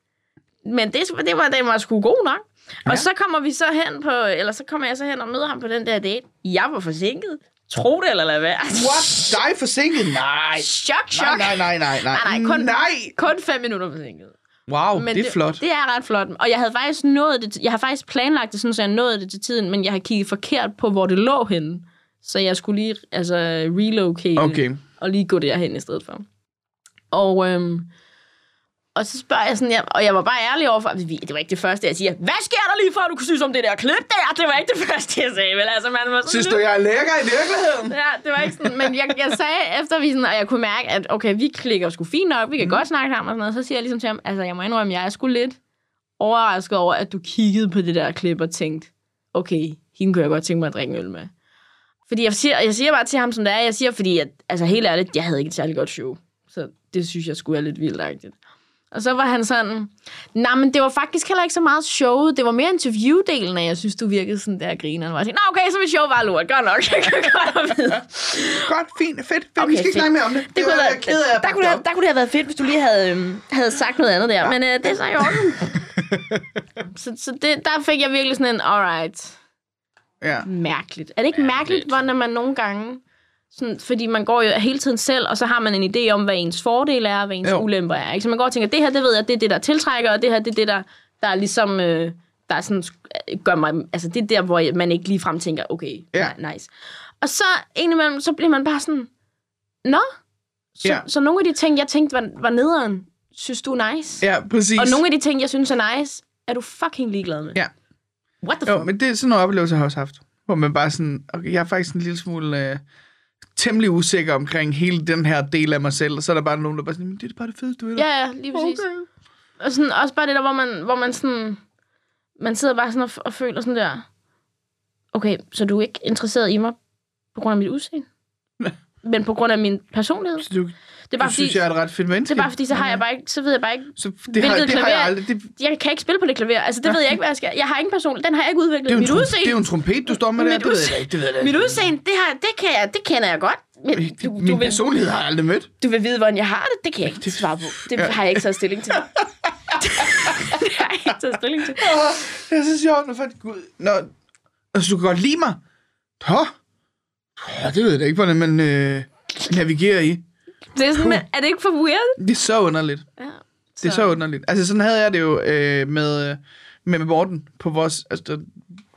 [SPEAKER 2] Men det, det var, den var sgu god nok. Og så kommer vi så hen på, eller så kommer jeg så hen og møder ham på den der date. Jeg var forsinket. Tro det eller lad være.
[SPEAKER 3] What? Dig forsinket? Nej.
[SPEAKER 2] Chok,
[SPEAKER 3] Nej,
[SPEAKER 2] chok.
[SPEAKER 3] nej, nej, nej, nej.
[SPEAKER 2] Nej, nej, kun,
[SPEAKER 3] nej.
[SPEAKER 2] kun fem minutter forsinket.
[SPEAKER 3] Wow, det er flot.
[SPEAKER 2] Det er ret flot. Og jeg havde faktisk nået det, jeg har faktisk planlagt det, sådan, så jeg nåede det til tiden, men jeg har kigget forkert på, hvor det lå henne. Så jeg skulle lige altså, relocate
[SPEAKER 3] Okay.
[SPEAKER 2] og lige gå derhen i stedet for. Og, øhm, og så spørger jeg sådan, ja, og jeg var bare ærlig overfor, altså, vi- det var ikke det første, jeg siger, hvad sker der lige for, at du kan synes om det der klip der? Det var ikke det første, jeg sagde, vel? Altså, man var sådan,
[SPEAKER 3] Synes
[SPEAKER 2] lidt-
[SPEAKER 3] du, jeg er lækker i virkeligheden?
[SPEAKER 2] Ja, det var ikke sådan, men jeg, jeg sagde efter vi sådan, og jeg kunne mærke, at okay, vi klikker sgu fint nok, vi kan mm. godt snakke sammen og sådan noget, så siger jeg ligesom til ham, altså jeg må indrømme, jeg er sgu lidt overrasket over, at du kiggede på det der klip og tænkte, okay, hende kunne jeg godt tænke mig at drikke en øl med. Fordi jeg siger, jeg siger bare til ham, som det er, jeg siger, fordi at, altså helt ærligt, jeg havde ikke et særlig godt show, så det synes jeg skulle er lidt vildagtigt. Og så var han sådan, nej, men det var faktisk heller ikke så meget showet. Det var mere interviewdelen, at jeg synes, du virkede sådan der grineren. Og jeg tænkte, nå okay, så mit show var lort. Godt nok, jeg kan godt vide.
[SPEAKER 3] Godt, fint, fedt. fedt. Okay, vi skal ikke
[SPEAKER 2] fedt.
[SPEAKER 3] snakke mere om det.
[SPEAKER 2] Det kunne
[SPEAKER 3] var
[SPEAKER 2] have
[SPEAKER 3] jeg ked af.
[SPEAKER 2] været, der, kunne det, have- der kunne det have været fedt, hvis du lige havde, øhm, havde sagt noget andet der. Ja. Men øh, det er så i orden. så så det, der fik jeg virkelig sådan en, alright,
[SPEAKER 3] Ja.
[SPEAKER 2] mærkeligt. Er det ikke mærkeligt, hvordan man nogle gange Sådan, fordi man går jo hele tiden selv, og så har man en idé om, hvad ens fordele er, og hvad ens
[SPEAKER 3] Jo.
[SPEAKER 2] jo. ulemper er. Ikke? Så man går og tænker, det her, det ved jeg, det er det, der tiltrækker, og det her, det er det, der, der er ligesom... Øh, der er sådan, øh, gør mig, altså det er der, hvor jeg- man ikke ligefrem tænker, okay,
[SPEAKER 3] Ja.
[SPEAKER 2] ja. nice. Og så indimellem, så bliver man bare sådan, nå, så,
[SPEAKER 3] Ja.
[SPEAKER 2] ja. så nogle af de ting, jeg tænkte var, var nederen, synes du er nice?
[SPEAKER 3] Ja, præcis.
[SPEAKER 2] Og nogle af de ting, jeg synes er nice, er du fucking ligeglad med.
[SPEAKER 3] Ja.
[SPEAKER 2] What the
[SPEAKER 3] Jo,
[SPEAKER 2] fuck?
[SPEAKER 3] men det er sådan nogle oplevelser, jeg har også haft. Hvor man bare sådan, okay, jeg er faktisk en lille smule øh, temmelig usikker omkring hele den her del af mig selv. Og så er der bare nogen, der bare sådan, "Men det er bare det fedeste, ved det."
[SPEAKER 2] Ja, ja, lige præcis. Okay. Og sådan, også bare det der, hvor man, hvor man sådan... Man sidder bare sådan og, f- og føler sådan der... Okay, så du er ikke interesseret i mig på grund af mit udseende? men på grund af min personlighed?
[SPEAKER 3] Så du,
[SPEAKER 2] Det er
[SPEAKER 3] du
[SPEAKER 2] bare
[SPEAKER 3] synes,
[SPEAKER 2] fordi...
[SPEAKER 3] jeg er et ret fedt menneske.
[SPEAKER 2] det er bare fordi, så har jeg bare ikke, så ved jeg bare ikke,
[SPEAKER 3] Så det, har,
[SPEAKER 2] hvilket
[SPEAKER 3] det har jeg
[SPEAKER 2] klaver-
[SPEAKER 3] aldrig. Det,
[SPEAKER 2] jeg kan ikke spille på det klaver. Altså, det ved jeg ikke, hvad jeg skal. Jeg har ingen person, den har jeg ikke udviklet.
[SPEAKER 3] det, er, jo en
[SPEAKER 2] mit
[SPEAKER 3] trum, det er jo
[SPEAKER 2] udseende,
[SPEAKER 3] en trompet, du står med der.
[SPEAKER 2] Mit
[SPEAKER 3] Det ved jeg
[SPEAKER 2] udse-
[SPEAKER 3] da ikke. Det ved jeg da
[SPEAKER 2] mit
[SPEAKER 3] ikke.
[SPEAKER 2] udseende, det, har, det, kan jeg, det kender jeg godt. Men du, du,
[SPEAKER 3] Min
[SPEAKER 2] vil,
[SPEAKER 3] personlighed har jeg aldrig mødt.
[SPEAKER 2] du vil vide, hvordan jeg har det, det kan jeg ikke svare på. Det har jeg ikke taget stilling til. det har jeg ikke taget stilling til.
[SPEAKER 3] Åh, Det er så sjovt, når folk... Gud, Nå, altså, du kan godt lide mig. Hå? Hå, det ved jeg da ikke, hvordan man øh, navigerer i.
[SPEAKER 2] Det er, sådan, men er det ikke for weird?
[SPEAKER 3] Det er så underligt.
[SPEAKER 2] Ja.
[SPEAKER 3] Det er så underligt. Altså, sådan havde jeg det jo øh, med, med Morten på vores... Altså, der-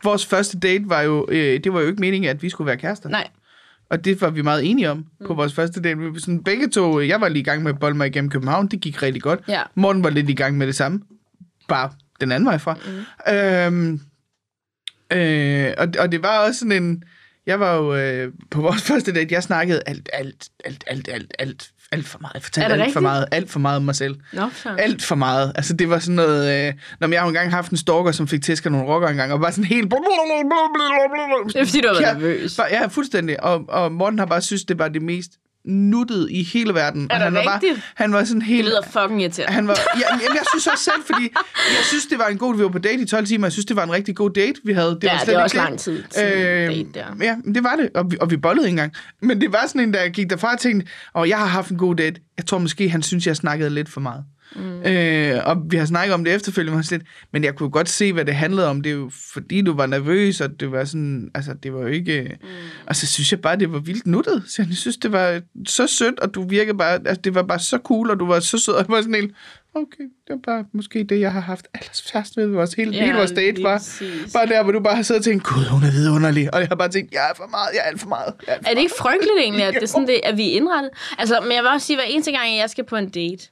[SPEAKER 3] vores første date var jo... Øh, det var jo ikke meningen, at vi skulle være kærester.
[SPEAKER 2] Nej.
[SPEAKER 3] Og det var vi meget enige om mm. på vores første date. Vi var sådan, begge to... øh, Jeg var lige i gang med at bolde mig igennem København. Det gik rigtig godt.
[SPEAKER 2] Ja.
[SPEAKER 3] Morten var lidt i gang med det samme. Bare den anden vej fra. Mm. Øhm, øh, og, og det var også sådan en... Jeg var jo øh, på vores første date, jeg snakkede alt, alt, alt, alt, alt, alt, alt for meget. Jeg
[SPEAKER 2] Er
[SPEAKER 3] fortalte
[SPEAKER 2] det
[SPEAKER 3] alt for
[SPEAKER 2] rigtigt?
[SPEAKER 3] meget, alt for meget om mig selv.
[SPEAKER 2] Nå, så.
[SPEAKER 3] Alt for meget. Altså, det var sådan noget... Øh, når jeg har jo engang haft en stalker, som fik tæsk af nogle rockere engang, og var sådan helt...
[SPEAKER 2] Det er fordi, du har været
[SPEAKER 3] Ja,
[SPEAKER 2] nervøs.
[SPEAKER 3] bare- Ja, fuldstændig. Og, og Morten har bare synes, det var det mest nuttede i hele verden. og
[SPEAKER 2] det
[SPEAKER 3] han var, bare,
[SPEAKER 2] rigtigt?
[SPEAKER 3] han var sådan
[SPEAKER 2] Det
[SPEAKER 3] helt...
[SPEAKER 2] lyder fucking irriterende.
[SPEAKER 3] Han var, ja, jamen, jeg synes også selv, fordi jeg synes, det var en god... Vi var på date i 12 timer. Jeg synes, det var en rigtig god date, vi havde. Det
[SPEAKER 2] Ja,
[SPEAKER 3] var slet
[SPEAKER 2] det er
[SPEAKER 3] ikke
[SPEAKER 2] også lang tid til en date der.
[SPEAKER 3] Ja, men det var det. Og vi, og vi bollede ikke engang. Men det var sådan en, der gik derfra og tænkte, og jeg har haft en god date. Jeg tror måske, han synes, jeg snakkede lidt for meget. Mm. Øh, og vi har snakket om det efterfølgende, og sådan lidt, men jeg kunne godt se, hvad det handlede om. Det er jo fordi, du var nervøs, og det var sådan, altså det var jo ikke... Mm. Og så synes jeg bare, det var vildt nuttet. Så jeg synes, det var så sødt, og du virkede bare, altså det var bare så cool, og du var så sød, og jeg var sådan helt, okay, det var bare måske det, jeg har haft allerførst ved vores hele,
[SPEAKER 2] Ja,
[SPEAKER 3] hele vores date.
[SPEAKER 2] lige
[SPEAKER 3] Var,
[SPEAKER 2] præcis.
[SPEAKER 3] bare der, hvor du bare har siddet og tænkt, gud, hun er vidunderlig. Og jeg har bare tænkt, jeg er for meget, jeg er alt for meget. Jeg er alt for
[SPEAKER 2] Er det ikke frygteligt egentlig, at det er sådan,
[SPEAKER 3] Jo.
[SPEAKER 2] det, at vi er indrettet? Altså, men jeg vil også sige, hver eneste gang, jeg skal på en date,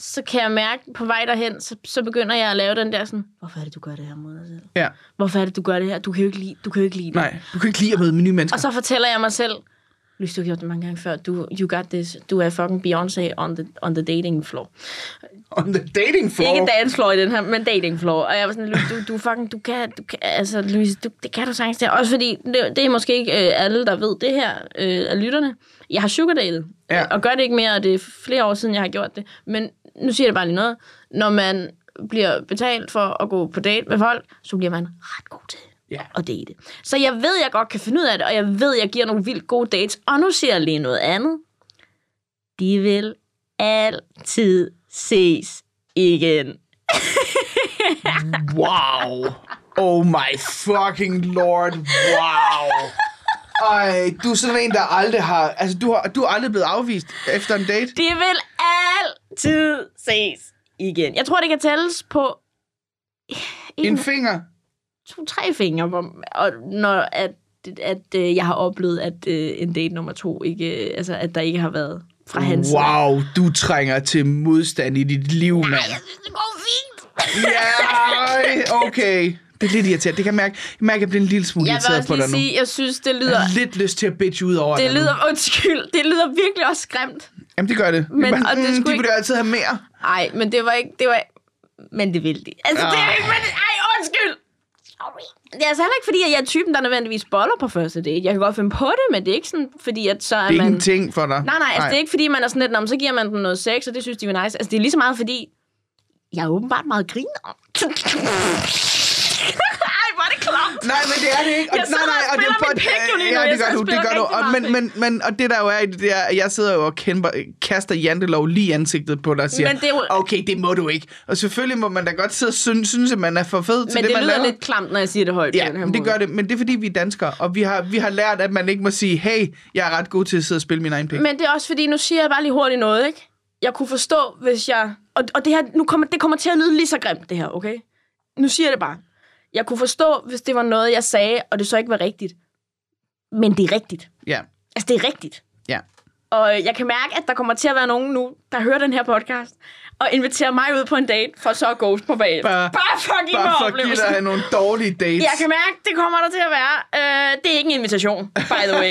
[SPEAKER 2] så kan jeg mærke på vej derhen, så, så begynder jeg at lave den der sådan, hvorfor er det, du gør det her mod dig selv?
[SPEAKER 3] Ja.
[SPEAKER 2] Hvorfor er det, du gør det her? Du kan jo ikke lide, du kan jo ikke lide det.
[SPEAKER 3] Nej, du kan ikke lide at møde nye mennesker.
[SPEAKER 2] Og så fortæller jeg mig selv, Lys, du har gjort det mange gange før. Du, you got this. Du er fucking Beyoncé on the, on the dating floor.
[SPEAKER 3] On the dating floor.
[SPEAKER 2] Ikke dance floor i den her, men dating floor. Og jeg var sådan, Louise, du, du fucking, du kan, du kan altså Louise, du, det kan du sagtens der. Også fordi, det, det er måske ikke øh, alle, der ved det her øh, af lytterne. Jeg har sugardatet,
[SPEAKER 3] Ja.
[SPEAKER 2] ja. og gør det ikke mere, og det er flere år siden, jeg har gjort det. Men nu siger jeg det bare lige noget. Når man bliver betalt for at gå på date med folk, så bliver man ret god til
[SPEAKER 3] Ja.
[SPEAKER 2] at date. Så jeg ved, jeg godt kan finde ud af det, og jeg ved, jeg giver nogle vildt gode dates. Og nu siger jeg lige noget andet. De vil altid ses igen.
[SPEAKER 3] Wow. Oh my fucking lord. Wow. Ej, du er sådan en, der aldrig har... Altså, du har, du er aldrig blevet afvist efter en date.
[SPEAKER 2] Det vil altid ses igen. Jeg tror, det kan tælles på en,
[SPEAKER 3] En finger.
[SPEAKER 2] to, tre fingre, hvor, og når at, at øh, jeg har oplevet, at øh, en date nummer to ikke, øh, altså at der ikke har været fra hans side.
[SPEAKER 3] Wow, du trænger til modstand i dit liv, mand.
[SPEAKER 2] Jeg synes, det går fint.
[SPEAKER 3] Ja, ej, okay. Det er lidt irriterende. Det kan jeg mærke. Jeg mærker, at jeg bliver en lille smule
[SPEAKER 2] Jeg vil
[SPEAKER 3] irriteret
[SPEAKER 2] også
[SPEAKER 3] på dig
[SPEAKER 2] lige
[SPEAKER 3] nu.
[SPEAKER 2] sige, jeg synes, det
[SPEAKER 3] Jeg
[SPEAKER 2] lyder,
[SPEAKER 3] har lidt lyst til at bitch ud over dig
[SPEAKER 2] det
[SPEAKER 3] nu.
[SPEAKER 2] lyder, undskyld, det lyder virkelig også skræmt.
[SPEAKER 3] Jamen, det gør det. Men,
[SPEAKER 2] Men-
[SPEAKER 3] bare,
[SPEAKER 2] og det
[SPEAKER 3] det mm,
[SPEAKER 2] skulle
[SPEAKER 3] de
[SPEAKER 2] ikke-
[SPEAKER 3] vil jo altid have mere.
[SPEAKER 2] Nej, men det var ikke, det var men det ville de. Altså, det er
[SPEAKER 3] Ah.
[SPEAKER 2] ikke, men, ej, undskyld. Sorry. Det er altså heller ikke, fordi at jeg er typen, der nødvendigvis boller på første date. Jeg kan godt finde på det, men det er ikke sådan, fordi at så er,
[SPEAKER 3] Det er
[SPEAKER 2] man...
[SPEAKER 3] ikke en ting for dig.
[SPEAKER 2] Nej, nej, altså, det er ikke, fordi man er sådan lidt, "Nå, men så giver man den noget sex, og det synes de er nice. Altså, det er lige så meget, fordi jeg er åbenbart meget griner. ej, hvor er det klamt.
[SPEAKER 3] Nej, men det er det ikke.
[SPEAKER 2] Jeg sidder
[SPEAKER 3] nej,
[SPEAKER 2] og spiller
[SPEAKER 3] på-
[SPEAKER 2] mit pik jo lige nu.
[SPEAKER 3] Ja,
[SPEAKER 2] Jeg
[SPEAKER 3] det gør
[SPEAKER 2] sidder
[SPEAKER 3] du,
[SPEAKER 2] og
[SPEAKER 3] det gør
[SPEAKER 2] spiller
[SPEAKER 3] du.
[SPEAKER 2] rigtig
[SPEAKER 3] Og,
[SPEAKER 2] meget
[SPEAKER 3] men, men, men, og det der jo er i det, det er, at jeg sidder jo og kæmper, kaster jantelov lige i ansigtet på dig og siger,
[SPEAKER 2] Men det er jo-
[SPEAKER 3] okay, det må du ikke. Og selvfølgelig må man da godt sidde og synes, synes at man er for fed til
[SPEAKER 2] Men
[SPEAKER 3] det,
[SPEAKER 2] det,
[SPEAKER 3] man
[SPEAKER 2] lyder
[SPEAKER 3] laver.
[SPEAKER 2] lidt klamt, når jeg siger det højt. på
[SPEAKER 3] Ja,
[SPEAKER 2] den her
[SPEAKER 3] men det
[SPEAKER 2] måde.
[SPEAKER 3] gør det, men det er fordi, vi er danskere, og vi har, vi har lært, at man ikke må sige, hey, jeg er ret god til at sidde og spille min egen pik.
[SPEAKER 2] Men det er også fordi, nu siger jeg bare lige hurtigt noget, ikke? Jeg kunne forstå, hvis jeg... Og, og det her, nu kommer, det kommer til at lyde lige så grimt, det her, okay? Nu siger jeg det bare. Jeg kunne forstå, hvis det var noget, jeg sagde, og det så ikke var rigtigt. Men det er rigtigt.
[SPEAKER 3] Ja,
[SPEAKER 2] Altså, det er rigtigt.
[SPEAKER 3] ja.
[SPEAKER 2] Og øh, jeg kan mærke, at der kommer til at være nogen nu, der hører den her podcast, og inviterer mig ud på en date, for så at ghost på bag.
[SPEAKER 3] Bare-
[SPEAKER 2] Bare, bare fucking
[SPEAKER 3] Bare
[SPEAKER 2] med
[SPEAKER 3] for at give
[SPEAKER 2] oplevelsen.
[SPEAKER 3] dig nogle dårlige dates.
[SPEAKER 2] Jeg kan mærke, det kommer der til at være. Øh, det er ikke en invitation, by the way.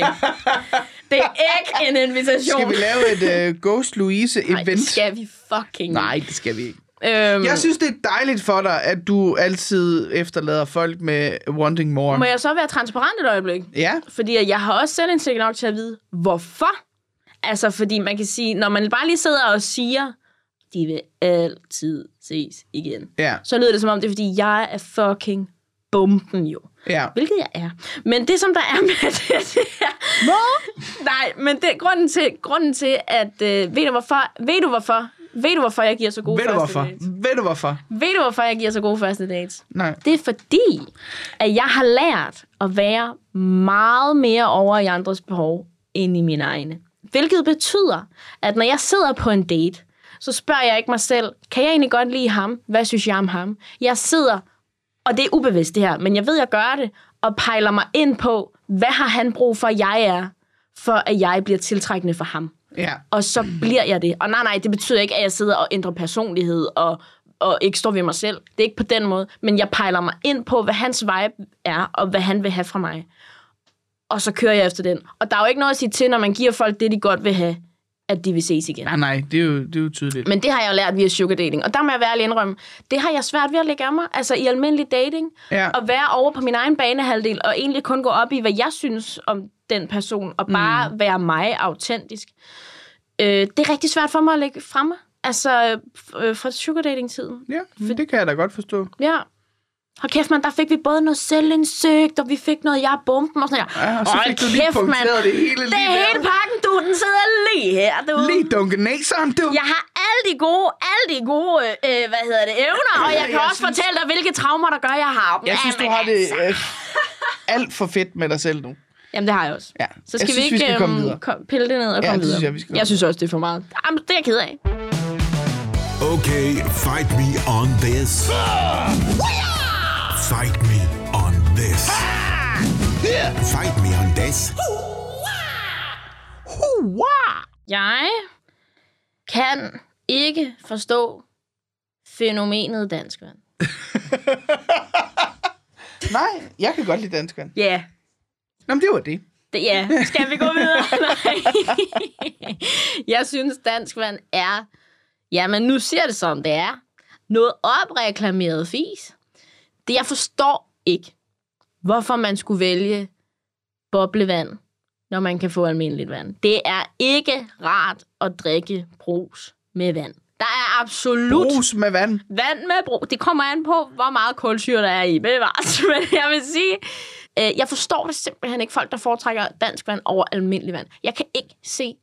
[SPEAKER 2] det er ikke en invitation.
[SPEAKER 3] Skal vi lave et uh, Ghost
[SPEAKER 2] Nej, det
[SPEAKER 3] Louise-event?
[SPEAKER 2] skal vi fucking
[SPEAKER 3] Nej, det skal vi ikke.
[SPEAKER 2] Øhm,
[SPEAKER 3] Jeg synes, det er dejligt for dig, at du altid efterlader folk med wanting more.
[SPEAKER 2] Må jeg så være transparent et øjeblik?
[SPEAKER 3] Ja,
[SPEAKER 2] Fordi at jeg har også selv indsigt nok til at vide, hvorfor. Altså, fordi man kan sige, når man bare lige sidder og siger, de vil altid ses igen.
[SPEAKER 3] ja,
[SPEAKER 2] Så lyder det som om, det er fordi, jeg er fucking bomben jo.
[SPEAKER 3] ja.
[SPEAKER 2] Hvilket jeg er. Men det, som der er med det, det er... Nej, men det, grunden, til, grunden til, at... Øh, ved, du hvorfor, ved du hvorfor? Ved du hvorfor, jeg giver så gode
[SPEAKER 3] Ved du
[SPEAKER 2] første
[SPEAKER 3] hvorfor?
[SPEAKER 2] dates?
[SPEAKER 3] Ved du hvorfor?
[SPEAKER 2] Ved du hvorfor, jeg giver så gode første dates?
[SPEAKER 3] Nej.
[SPEAKER 2] Det er fordi, at jeg har lært at være meget mere over i andres behov, end i mine egne. Hvilket betyder, at når jeg sidder på en date, så spørger jeg ikke mig selv, kan jeg egentlig godt lide ham? Hvad synes jeg om ham? Jeg sidder, og det er ubevidst det her, men jeg ved, jeg gør det, og pejler mig ind på, hvad har han brug for, at jeg er, for at jeg bliver tiltrækkende for ham
[SPEAKER 3] Ja.
[SPEAKER 2] og så bliver jeg det. Og nej, nej, det betyder ikke, at jeg sidder og ændrer personlighed og, og ikke står ved mig selv. Det er ikke på den måde. Men jeg pejler mig ind på, hvad hans vibe er, og hvad han vil have fra mig. Og så kører jeg efter den. Og der er jo ikke noget at sige til, når man giver folk det, de godt vil have, at de vil ses igen.
[SPEAKER 3] Nej, nej, det er jo, det er jo tydeligt.
[SPEAKER 2] Men det har jeg jo lært via sugar dating. Og der må jeg være ærlig indrømme, det har jeg svært ved at lægge af mig. Altså i almindelig dating.
[SPEAKER 3] Ja.
[SPEAKER 2] At være over på min egen banehalvdel, og egentlig kun gå op i, hvad jeg synes om den person, og bare mm. være mig autentisk. Øh, det er rigtig svært for mig at lægge fra mig. Altså øh, f- øh, fra sugar dating-tiden.
[SPEAKER 3] Ja, men det kan jeg da godt forstå.
[SPEAKER 2] Ja. Og kæft, man, der fik vi både noget selvindsigt, og vi fik noget, jeg er bomben, og sådan her.
[SPEAKER 3] Ja, og så
[SPEAKER 2] Hold
[SPEAKER 3] fik du lige punkteret det hele
[SPEAKER 2] Det
[SPEAKER 3] lige
[SPEAKER 2] er
[SPEAKER 3] der.
[SPEAKER 2] hele pakken, du. Den sidder lige her, du.
[SPEAKER 3] Lige dunke ned sammen, du.
[SPEAKER 2] Jeg har alle de gode, alle de gode, øh, hvad hedder det, evner, og jeg kan jeg
[SPEAKER 3] Jeg
[SPEAKER 2] også
[SPEAKER 3] synes-
[SPEAKER 2] synes... fortælle dig, hvilke traumer, der gør, jeg har. dem.
[SPEAKER 3] Jeg synes, du
[SPEAKER 2] Jamen,
[SPEAKER 3] har det
[SPEAKER 2] altså.
[SPEAKER 3] øh, alt for fedt med dig selv nu.
[SPEAKER 2] Jamen, det har jeg også.
[SPEAKER 3] Ja.
[SPEAKER 2] Så skal
[SPEAKER 3] Jeg synes,
[SPEAKER 2] vi ikke
[SPEAKER 3] vi skal komme
[SPEAKER 2] øhm,
[SPEAKER 3] videre.
[SPEAKER 2] kom- pille det ned og
[SPEAKER 3] Ja,
[SPEAKER 2] komme
[SPEAKER 3] det synes
[SPEAKER 2] videre.
[SPEAKER 3] jeg, vi skal
[SPEAKER 2] jeg synes også, det er for meget. Jamen, det er jeg ked af.
[SPEAKER 1] Okay, fight me on this. Fight me on this. Fight me on this.
[SPEAKER 2] Jeg kan ikke forstå fænomenet danskvand.
[SPEAKER 3] Nej, jeg kan godt lide danskeren.
[SPEAKER 2] Ja. Yeah.
[SPEAKER 3] Nå, men det var det.
[SPEAKER 2] Det, ja, skal vi gå videre? Nej. jeg synes, dansk vand er... Jamen, nu ser det som det er. Noget opreklameret fis. Det, jeg forstår ikke, hvorfor man skulle vælge boblevand, når man kan få almindeligt vand. Det er ikke rart at drikke brus med vand. Der er absolut
[SPEAKER 3] Brus med vand.
[SPEAKER 2] Vand med brug. Det kommer an på, hvor meget kulsyre der er i. Bevares. Men jeg vil sige, øh, jeg forstår det simpelthen ikke folk, der foretrækker dansk vand over almindelig vand. Jeg kan ikke se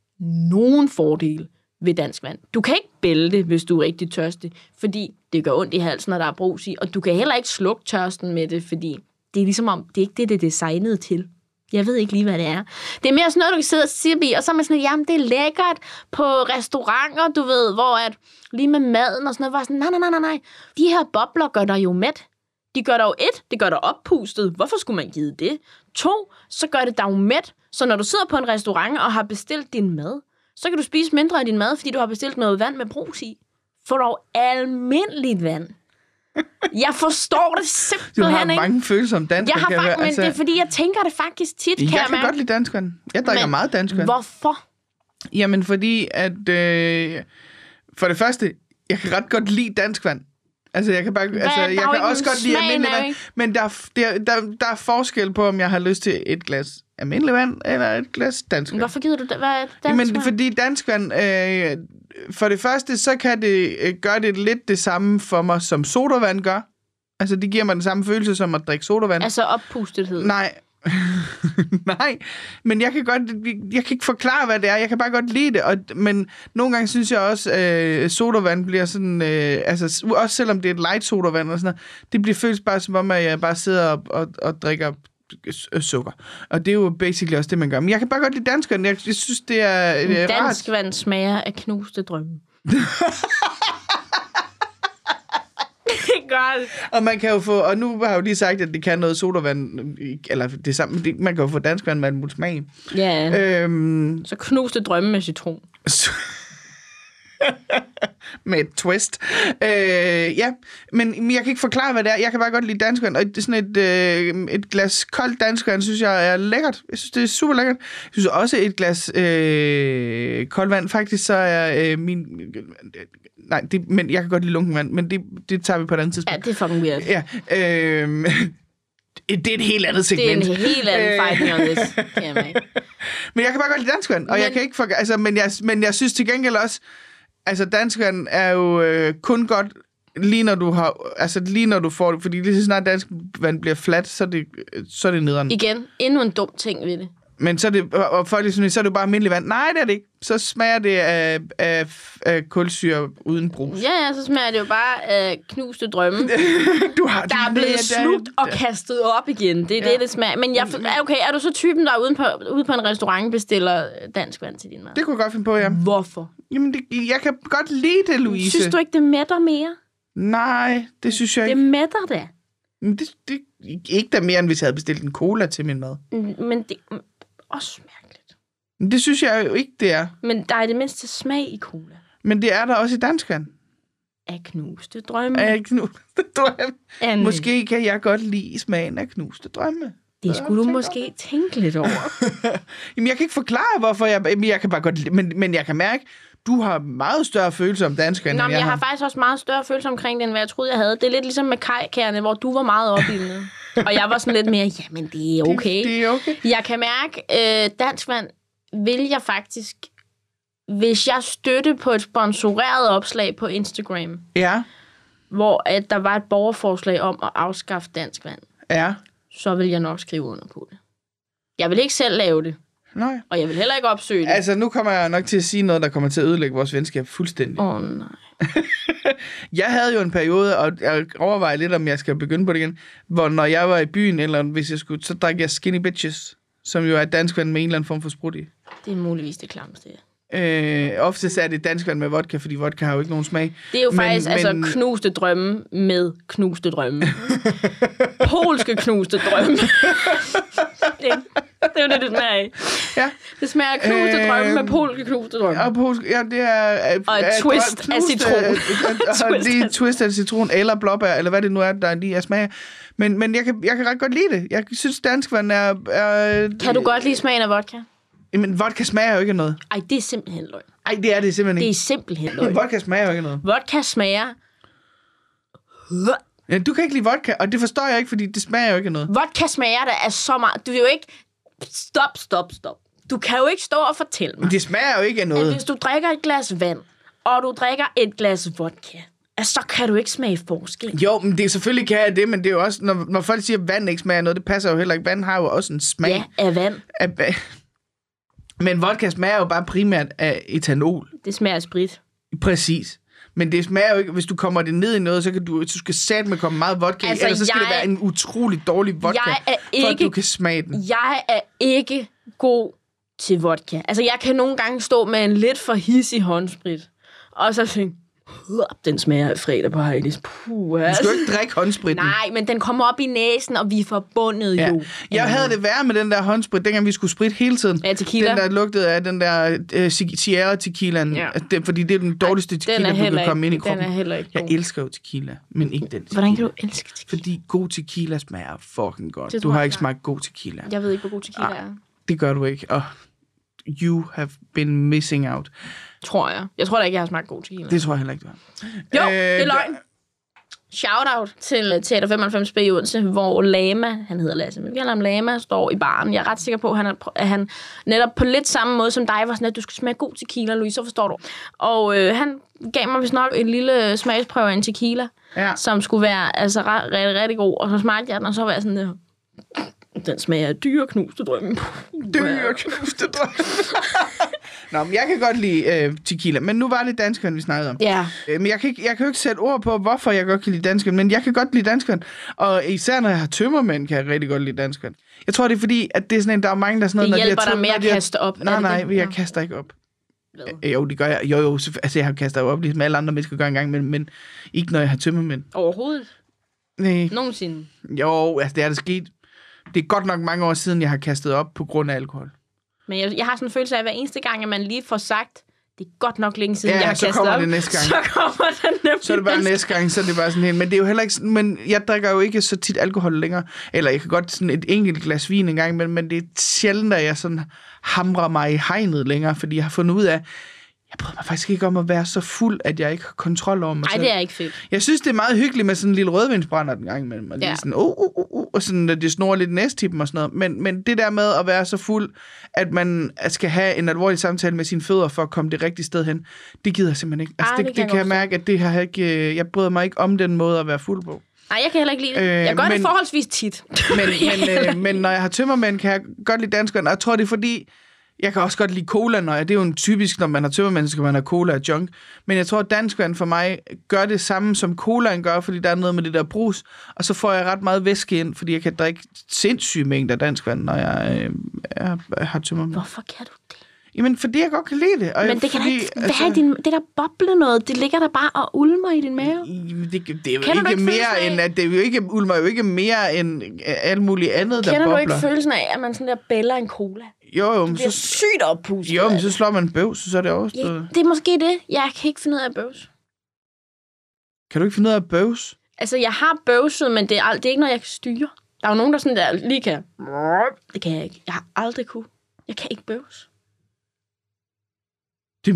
[SPEAKER 2] nogen fordele ved dansk vand. Du kan ikke bælte, hvis du er rigtig tørstig, fordi det gør ondt i halsen, når der er brus i. Og du kan heller ikke slukke tørsten med det, fordi det er ligesom om, det er ikke det, det er designet til. Jeg ved ikke lige, hvad det er. Det er mere sådan noget, du kan sidde og sippe i, og så er man sådan, lidt, jamen det er lækkert på restauranter, du ved, hvor at lige med maden og sådan noget, var sådan, nej, nej, nej, nej, nej. De her bobler gør dig jo mæt. De gør dig jo et, det gør dig oppustet. Hvorfor skulle man give det? To, så gør det dig jo mæt. Så når du sidder på en restaurant og har bestilt din mad, så kan du spise mindre af din mad, fordi du har bestilt noget vand med brus i. Få dog almindeligt vand. Jeg forstår det
[SPEAKER 3] Du
[SPEAKER 2] simpelthen
[SPEAKER 3] har
[SPEAKER 2] ikke.
[SPEAKER 3] mange følelser om danskeren.
[SPEAKER 2] Jeg har
[SPEAKER 3] kan
[SPEAKER 2] faktisk,
[SPEAKER 3] høre. Altså,
[SPEAKER 2] men det er fordi, jeg tænker det faktisk tit, kan
[SPEAKER 3] jeg,
[SPEAKER 2] jeg,
[SPEAKER 3] kan
[SPEAKER 2] mærke.
[SPEAKER 3] godt lide danskeren. Jeg drikker
[SPEAKER 2] Men
[SPEAKER 3] meget danskeren.
[SPEAKER 2] Hvorfor?
[SPEAKER 3] Jamen, fordi at... Øh, for det første, jeg kan ret godt lide dansk vand. Altså, jeg kan, bare, altså,
[SPEAKER 2] der er
[SPEAKER 3] jeg
[SPEAKER 2] jo
[SPEAKER 3] kan
[SPEAKER 2] ikke
[SPEAKER 3] også
[SPEAKER 2] nogen
[SPEAKER 3] godt lide
[SPEAKER 2] smag,
[SPEAKER 3] almindelig
[SPEAKER 2] nej.
[SPEAKER 3] vand. Men der, er f- der, der, der er forskel på, om jeg har lyst til et glas almindelig vand, eller et glas dansk vand.
[SPEAKER 2] Hvorfor gider du det? Hvad er det?
[SPEAKER 3] Jamen, fordi dansk vand... Øh, for det første, så kan det øh, gøre det lidt det samme for mig, som sodavand gør. Altså, det giver mig den samme følelse som at drikke sodavand. Altså...
[SPEAKER 2] Altså oppustethed.
[SPEAKER 3] Nej. Nej, men jeg kan godt, jeg kan ikke forklare, hvad det er. Jeg kan bare godt lide det. Og, men nogle gange synes jeg også, øh, sodavand bliver sådan, øh, altså også selvom det er et light sodavand og sådan noget, det bliver føles bare som om, at jeg bare sidder og, og, og drikker øh, sukker. Og det er jo basically også det, man gør. Men jeg kan bare godt lide danskerne. Jeg, jeg synes, det er, det er rart.
[SPEAKER 2] Dansk vand smager af knuste drømme. det gør det.
[SPEAKER 3] Og man kan jo få, og nu har jeg jo lige sagt, at det kan noget sodavand, eller det samme, det, man kan jo få dansk vand med en smag. i.
[SPEAKER 2] Ja, øh.
[SPEAKER 3] Øhm,
[SPEAKER 2] så knuste drømme med citron.
[SPEAKER 3] så- med et twist. Øh, ja, men jeg kan ikke forklare, hvad det er. Jeg kan bare godt lide dansk vand, og det er sådan et, øh, et glas koldt dansk vand, synes jeg er lækkert. Jeg synes, det er super lækkert. Jeg synes også, et glas øh, koldt vand, faktisk så er øh, min... Nej, det, men jeg kan godt lide lunken vand, men det, det tager vi på et andet tidspunkt.
[SPEAKER 2] Ja, det er fucking weird.
[SPEAKER 3] Ja, øh, det er et helt andet
[SPEAKER 2] Det er en
[SPEAKER 3] segment.
[SPEAKER 2] helt anden
[SPEAKER 3] Øh.
[SPEAKER 2] fighting on this. Damn, ikke?
[SPEAKER 3] Men jeg kan bare godt lide danskvand, og men... jeg
[SPEAKER 2] Men-
[SPEAKER 3] kan ikke for... altså, men, jeg, men jeg synes til gengæld også, altså danskvand er jo øh, kun godt lige når du har, altså lige når du får det, fordi lige så snart danskvand bliver flat, så er det, øh, så er det nederen.
[SPEAKER 2] Igen, endnu en dum ting ved det.
[SPEAKER 3] Men så er det, og- og folk synes, så er det jo bare almindelig vand. Nej, det er det ikke. Så smager det af, af, af kulsyre uden brus.
[SPEAKER 2] Ja, ja, så smager det jo bare af knuste drømme,
[SPEAKER 3] Du har,
[SPEAKER 2] der er blevet slugt og kastet op igen. Det er ja. det, det smager. Men jeg, okay, er du så typen, der er ude på, ude på en restaurant bestiller øh, dansk vand til din mad?
[SPEAKER 3] Det kunne jeg godt finde på, ja.
[SPEAKER 2] Hvorfor?
[SPEAKER 3] Jamen, det, jeg kan godt lide det, Louise.
[SPEAKER 2] Synes du ikke, det mætter mere?
[SPEAKER 3] Nej, det synes jeg
[SPEAKER 2] Det
[SPEAKER 3] ikke.
[SPEAKER 2] mætter da.
[SPEAKER 3] Men det, det ikke da mere, end hvis jeg havde bestilt en cola til min mad.
[SPEAKER 2] Men det er også mærkeligt.
[SPEAKER 3] Men det synes jeg jo ikke, det er.
[SPEAKER 2] Men der er i det mindste smag i cola.
[SPEAKER 3] Men det er der også i danskeren.
[SPEAKER 2] Mm. Af knuste drømme.
[SPEAKER 3] Af knuste drømme.
[SPEAKER 2] Anne,
[SPEAKER 3] Måske kan jeg godt lide smagen af knuste drømme.
[SPEAKER 2] det skulle du måske tænke lidt over.
[SPEAKER 3] Jamen, jeg kan ikke forklare, hvorfor jeg... Jamen, jeg kan bare godt lide, men, men jeg kan mærke, du har meget større følelse om danskeren,
[SPEAKER 2] Nå,
[SPEAKER 3] end
[SPEAKER 2] men jeg har
[SPEAKER 3] har.
[SPEAKER 2] faktisk også meget større følelse omkring det, end hvad jeg troede, jeg havde. Det er lidt ligesom med kajkærne, hvor du var meget oppe i det. Og jeg var sådan lidt mere, jamen det er okay.
[SPEAKER 3] Det, det er okay.
[SPEAKER 2] Jeg kan mærke, øh, dansk vand vil jeg faktisk, hvis jeg støtte på et sponsoreret opslag på Instagram,
[SPEAKER 3] Ja,
[SPEAKER 2] hvor at der var et borgerforslag om at afskaffe dansk vand,
[SPEAKER 3] ja.
[SPEAKER 2] så vil jeg nok skrive under på det. Jeg vil ikke selv lave det,
[SPEAKER 3] Nej.
[SPEAKER 2] og jeg vil heller ikke opsøge det. Åh
[SPEAKER 3] Altså, nu kommer jeg nok til at sige noget, der kommer til at ødelægge vores venskab fuldstændig.
[SPEAKER 2] oh, nej.
[SPEAKER 3] Jeg havde jo en periode, og jeg overvejer lidt, om jeg skal begynde på det igen, hvor når jeg var i byen, eller hvis jeg skulle, så drak jeg Skinny Bitches, som jo er danskvand med en eller anden form for sprut i.
[SPEAKER 2] Det er muligvis det klamste.
[SPEAKER 3] Øh, oftest er det danskvand med vodka, fordi vodka har jo ikke nogen smag.
[SPEAKER 2] Det er jo
[SPEAKER 3] Men-
[SPEAKER 2] faktisk men,
[SPEAKER 3] men-
[SPEAKER 2] altså knuste drømme med knuste drømme. Polske knuste drømme. det, det er jo det, det smager af.
[SPEAKER 3] Ja,
[SPEAKER 2] Det smager af knuste øh, drømme med
[SPEAKER 3] Øhm,
[SPEAKER 2] polske knuste drømme.
[SPEAKER 3] og polsk, ja, det er... øh,
[SPEAKER 2] Og et
[SPEAKER 3] er-
[SPEAKER 2] twist
[SPEAKER 3] knuste-
[SPEAKER 2] af citron.
[SPEAKER 3] og- Og det er et twist af citron, eller blåbær, eller hvad det nu er, der lige er smag. Men, men jeg, kan, jeg kan ret godt lide det. Jeg synes, danskvand er... er
[SPEAKER 2] Kan du godt lide smagen af vodka?
[SPEAKER 3] Jamen, vodka smager jo ikke af noget.
[SPEAKER 2] Ej, det er simpelthen løgn.
[SPEAKER 3] Nej, det er det simpelthen
[SPEAKER 2] Det er
[SPEAKER 3] ikke.
[SPEAKER 2] simpelthen løgn.
[SPEAKER 3] Vodka smager jo ikke af noget.
[SPEAKER 2] Vodka smager...
[SPEAKER 3] Ja, du kan ikke lide vodka, og det forstår jeg ikke, fordi det smager jo ikke af noget.
[SPEAKER 2] Vodka smager der er så meget... Du er jo ikke... Stop, stop, stop. Du kan jo ikke stå og fortælle mig,
[SPEAKER 3] Men det smager jo ikke af
[SPEAKER 2] at
[SPEAKER 3] noget.
[SPEAKER 2] hvis du drikker et glas vand, og du drikker et glas vodka, at så kan du ikke smage forskel.
[SPEAKER 3] Jo, men det selvfølgelig kan jeg det, men det er jo også, når, når folk siger, at vand ikke smager af noget, det passer jo heller ikke. Vand har jo også en smag.
[SPEAKER 2] Ja, af vand.
[SPEAKER 3] Af, men vodka smager jo bare primært af etanol.
[SPEAKER 2] Det smager af sprit.
[SPEAKER 3] Præcis. Men det smager jo ikke, hvis du kommer det ned i noget, så kan du, så skal sat med komme meget vodka altså,
[SPEAKER 2] Altså,
[SPEAKER 3] ellers så skal jeg, det
[SPEAKER 2] jeg-
[SPEAKER 3] være en utrolig dårlig vodka,
[SPEAKER 2] Jeg er
[SPEAKER 3] for at
[SPEAKER 2] ikke-
[SPEAKER 3] du kan smage den.
[SPEAKER 2] Jeg er ikke god til vodka. Altså, jeg kan nogle gange stå med en lidt for hissig håndsprit, og så tænke, "Hup, den smager af fredag på Heinis. Puh,
[SPEAKER 3] Du skal jo
[SPEAKER 2] altså.
[SPEAKER 3] ikke drikke håndspritten.
[SPEAKER 2] Nej, men den kommer op i næsen, og vi er forbundet
[SPEAKER 3] Ja.
[SPEAKER 2] jo. Øhm,
[SPEAKER 3] Jeg havde det værre med den der håndsprit, dengang vi skulle spritte hele tiden.
[SPEAKER 2] Ja, tequila.
[SPEAKER 3] Den der lugtede af den der øh, Ci- Sierra tequilaen,
[SPEAKER 2] Ja.
[SPEAKER 3] ja. den, fordi det er den dårligste tequila,
[SPEAKER 2] er
[SPEAKER 3] du
[SPEAKER 2] heller
[SPEAKER 3] kan komme ind
[SPEAKER 2] ikke-
[SPEAKER 3] i kroppen.
[SPEAKER 2] den er heller ikke
[SPEAKER 3] Jeg
[SPEAKER 2] god.
[SPEAKER 3] elsker jo tequila, men ikke den tequila.
[SPEAKER 2] Hvordan kan du elske tequila?
[SPEAKER 3] Fordi god tequila smager fucking godt.
[SPEAKER 2] Det
[SPEAKER 3] Du
[SPEAKER 2] tror
[SPEAKER 3] har
[SPEAKER 2] jeg,
[SPEAKER 3] ikke
[SPEAKER 2] jeg-
[SPEAKER 3] smagt god tequila.
[SPEAKER 2] Jeg ved ikke, hvor god tequila
[SPEAKER 3] Ej.
[SPEAKER 2] er.
[SPEAKER 3] Det gør du ikke, og you have been missing out.
[SPEAKER 2] Tror jeg. Jeg tror da ikke, jeg har smagt god tequila.
[SPEAKER 3] Øh, Det tror jeg heller ikke, du har.
[SPEAKER 2] jo, det er løgn. Shoutout til Teater 95B i Odense, hvor Lama, han hedder Lasse, men vi kalder ham Lama, står i baren. Jeg er ret sikker på, at han, er, at han netop på lidt samme måde som dig var sådan, at du skal smage god tequila, Louise, så forstår du. Og øh, han gav mig vist nok en lille smagsprøve af en tequila,
[SPEAKER 3] Ja.
[SPEAKER 2] som skulle være altså ret, rigtig, rigtig god. Og så smagte jeg den, og så var jeg sådan, øh, den smager af dyre knuste drømme.
[SPEAKER 3] Dør knuste drømme. Nå, men jeg kan godt lide øh, tequila, men nu var det danskeren, vi snakkede om.
[SPEAKER 2] Ja.
[SPEAKER 3] Øh, Men jeg kan, ikke, jeg kan jo ikke sætte ord på, hvorfor jeg godt kan lide danskeren, men jeg kan godt lide danskeren. Og især når jeg har tømmermænd, kan jeg rigtig godt lide danskeren. Jeg tror, det er fordi, at det er sådan en, der er mange, der er sådan noget...
[SPEAKER 2] Det
[SPEAKER 3] når de har
[SPEAKER 2] hjælper dig
[SPEAKER 3] tøm-
[SPEAKER 2] med
[SPEAKER 3] når
[SPEAKER 2] at
[SPEAKER 3] de har-
[SPEAKER 2] kaste op, er
[SPEAKER 3] Nej,
[SPEAKER 2] det
[SPEAKER 3] nej,
[SPEAKER 2] det?
[SPEAKER 3] men jeg
[SPEAKER 2] Nå.
[SPEAKER 3] kaster ikke op. Øh, Jo, det gør jeg. Jo, jo, selvfø- altså jeg har kastet op, ligesom alle andre mennesker gør engang, men, men ikke når jeg har tømmermænd.
[SPEAKER 2] Overhovedet.
[SPEAKER 3] Nej.
[SPEAKER 2] Nogensinde.
[SPEAKER 3] Jo, altså det er det sket. Det er godt nok mange år siden, jeg har kastet op på grund af alkohol.
[SPEAKER 2] Men jeg, jeg har sådan en følelse af, at hver eneste gang, at man lige får sagt, det er godt nok længe siden,
[SPEAKER 3] Ja,
[SPEAKER 2] jeg har
[SPEAKER 3] så
[SPEAKER 2] kastet
[SPEAKER 3] kommer
[SPEAKER 2] op,
[SPEAKER 3] det næste gang.
[SPEAKER 2] Så kommer den nemlig
[SPEAKER 3] Så er det bare næste gang, så er det bare sådan helt. Men det er jo heller ikke sådan, men jeg drikker jo ikke så tit alkohol længere. Eller jeg kan godt sådan et enkelt glas vin en gang, men, men det er sjældent, at jeg sådan hamrer mig i hegnet længere, fordi jeg har fundet ud af, jeg bryder mig faktisk ikke om at være så fuld, at jeg ikke har kontrol over mig
[SPEAKER 2] Nej,
[SPEAKER 3] selv.
[SPEAKER 2] det er ikke fedt.
[SPEAKER 3] Jeg synes, det er meget hyggeligt med sådan en lille rødvinsbrænder den gang imellem. Og lige
[SPEAKER 2] Ja.
[SPEAKER 3] sådan, uh, uh, uh, uh, og sådan, at det snor lidt næstippen og sådan noget. Men, men det der med at være så fuld, at man skal have en alvorlig samtale med sine fødder for at komme det rigtige sted hen, det gider jeg simpelthen ikke. Altså,
[SPEAKER 2] Ej,
[SPEAKER 3] det,
[SPEAKER 2] det
[SPEAKER 3] det,
[SPEAKER 2] kan
[SPEAKER 3] det
[SPEAKER 2] jeg
[SPEAKER 3] kan jeg
[SPEAKER 2] godt
[SPEAKER 3] mærke, at det her ikke, øh, jeg bryder mig ikke om den måde at være fuld på.
[SPEAKER 2] Nej, jeg kan heller ikke lide det.
[SPEAKER 3] Øh,
[SPEAKER 2] jeg gør det
[SPEAKER 3] men-
[SPEAKER 2] forholdsvis tit.
[SPEAKER 3] Men,
[SPEAKER 2] Jeg kan
[SPEAKER 3] men,
[SPEAKER 2] heller
[SPEAKER 3] øh,
[SPEAKER 2] ikke-
[SPEAKER 3] men når jeg har tømmermænd, kan jeg godt lide danskeren. Og jeg tror, det er fordi, jeg kan også godt lide cola, når jeg, det er jo en typisk, når man har tømmermænd, så skal man have cola og junk. Men jeg tror, at danskeren for mig gør det samme, som colaen gør, fordi der er noget med det der brus. Og så får jeg ret meget væske ind, fordi jeg kan drikke sindssyge mængder danskvand, når jeg, øh, er, har tømmermænd.
[SPEAKER 2] Hvorfor kan du det? fordi,
[SPEAKER 3] Jamen, fordi jeg godt kan lide det. Og
[SPEAKER 2] men det kan da
[SPEAKER 3] Øh, fordi, altså-
[SPEAKER 2] ikke være i din... Det der boble noget, det ligger der bare og ulmer i din mave.
[SPEAKER 3] det, det er jo
[SPEAKER 2] Kender du
[SPEAKER 3] ikke
[SPEAKER 2] ikke
[SPEAKER 3] mere
[SPEAKER 2] følelsen af-
[SPEAKER 3] end, at det er jo ikke, ulmer jo ikke mere end øh, alt muligt andet, der
[SPEAKER 2] Kender du
[SPEAKER 3] bobler.
[SPEAKER 2] ikke følelsen af, at man sådan der bæller en cola?
[SPEAKER 3] jo, jo, men
[SPEAKER 2] Det er
[SPEAKER 3] så
[SPEAKER 2] sygt oppustet.
[SPEAKER 3] Jo, men så slår man bøvs, så er det
[SPEAKER 2] ja,
[SPEAKER 3] overstået.
[SPEAKER 2] det er måske det. Jeg kan ikke finde ud af at bøvse.
[SPEAKER 3] Kan du ikke finde ud af at bøvs?
[SPEAKER 2] Altså, jeg har bøvset, men det er, ald- det er ikke noget, jeg kan styre. Der er jo nogen, der sådan der lige kan. Det kan jeg ikke. Jeg har aldrig kunne. Jeg kan ikke bøvse.
[SPEAKER 3] Det,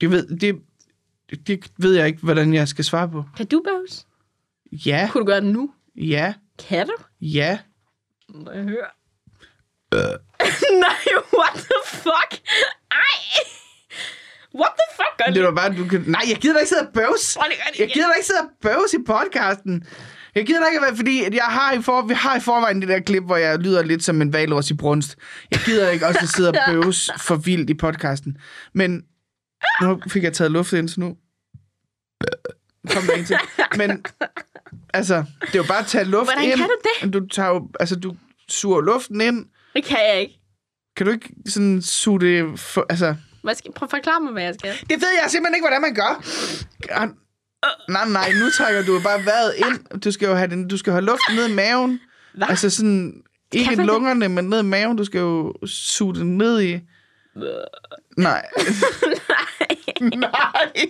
[SPEAKER 3] det, ved, det, det ved jeg ikke, hvordan jeg skal svare på.
[SPEAKER 2] Kan du bøvse?
[SPEAKER 3] Ja,
[SPEAKER 2] Kunne du gøre det nu?
[SPEAKER 3] ja,
[SPEAKER 2] Kan du?
[SPEAKER 3] ja.
[SPEAKER 2] Må jeg høre? Nej, what the fuck? Ej! What the fuck gør
[SPEAKER 3] Det
[SPEAKER 2] du?
[SPEAKER 3] var bare, du kan... Nej, jeg gider da ikke sidde og bøvs.
[SPEAKER 2] Prøv lige at gøre det
[SPEAKER 3] Jeg
[SPEAKER 2] igen.
[SPEAKER 3] gider da ikke sidde og bøvs i podcasten. Jeg gider da ikke at være, fordi at jeg har i for, vi har i forvejen det der klip, hvor jeg lyder lidt som en valros i brunst. Jeg gider ikke også at sidde og bøvs for vildt i podcasten. Men nu fik jeg taget luft ind, så nu kom der en til. Men altså, det er jo bare at tage luft
[SPEAKER 2] Hvordan
[SPEAKER 3] ind.
[SPEAKER 2] kan du
[SPEAKER 3] det? Du, tager jo, altså, du suger luften ind.
[SPEAKER 2] Det kan jeg ikke.
[SPEAKER 3] Kan du ikke sådan suge det... For, altså,
[SPEAKER 2] Hvad skal, prøv at forklare mig, hvad jeg skal.
[SPEAKER 3] det ved jeg simpelthen ikke, hvordan man gør. Ah, Nej, nej, nu trækker du jo bare vejret ind. Du skal jo have, den, du skal have luften ned i maven.
[SPEAKER 2] Hva?
[SPEAKER 3] Altså sådan, ikke
[SPEAKER 2] man det?
[SPEAKER 3] lungerne, men ned i maven. Du skal jo suge den ned i... Nej. nej.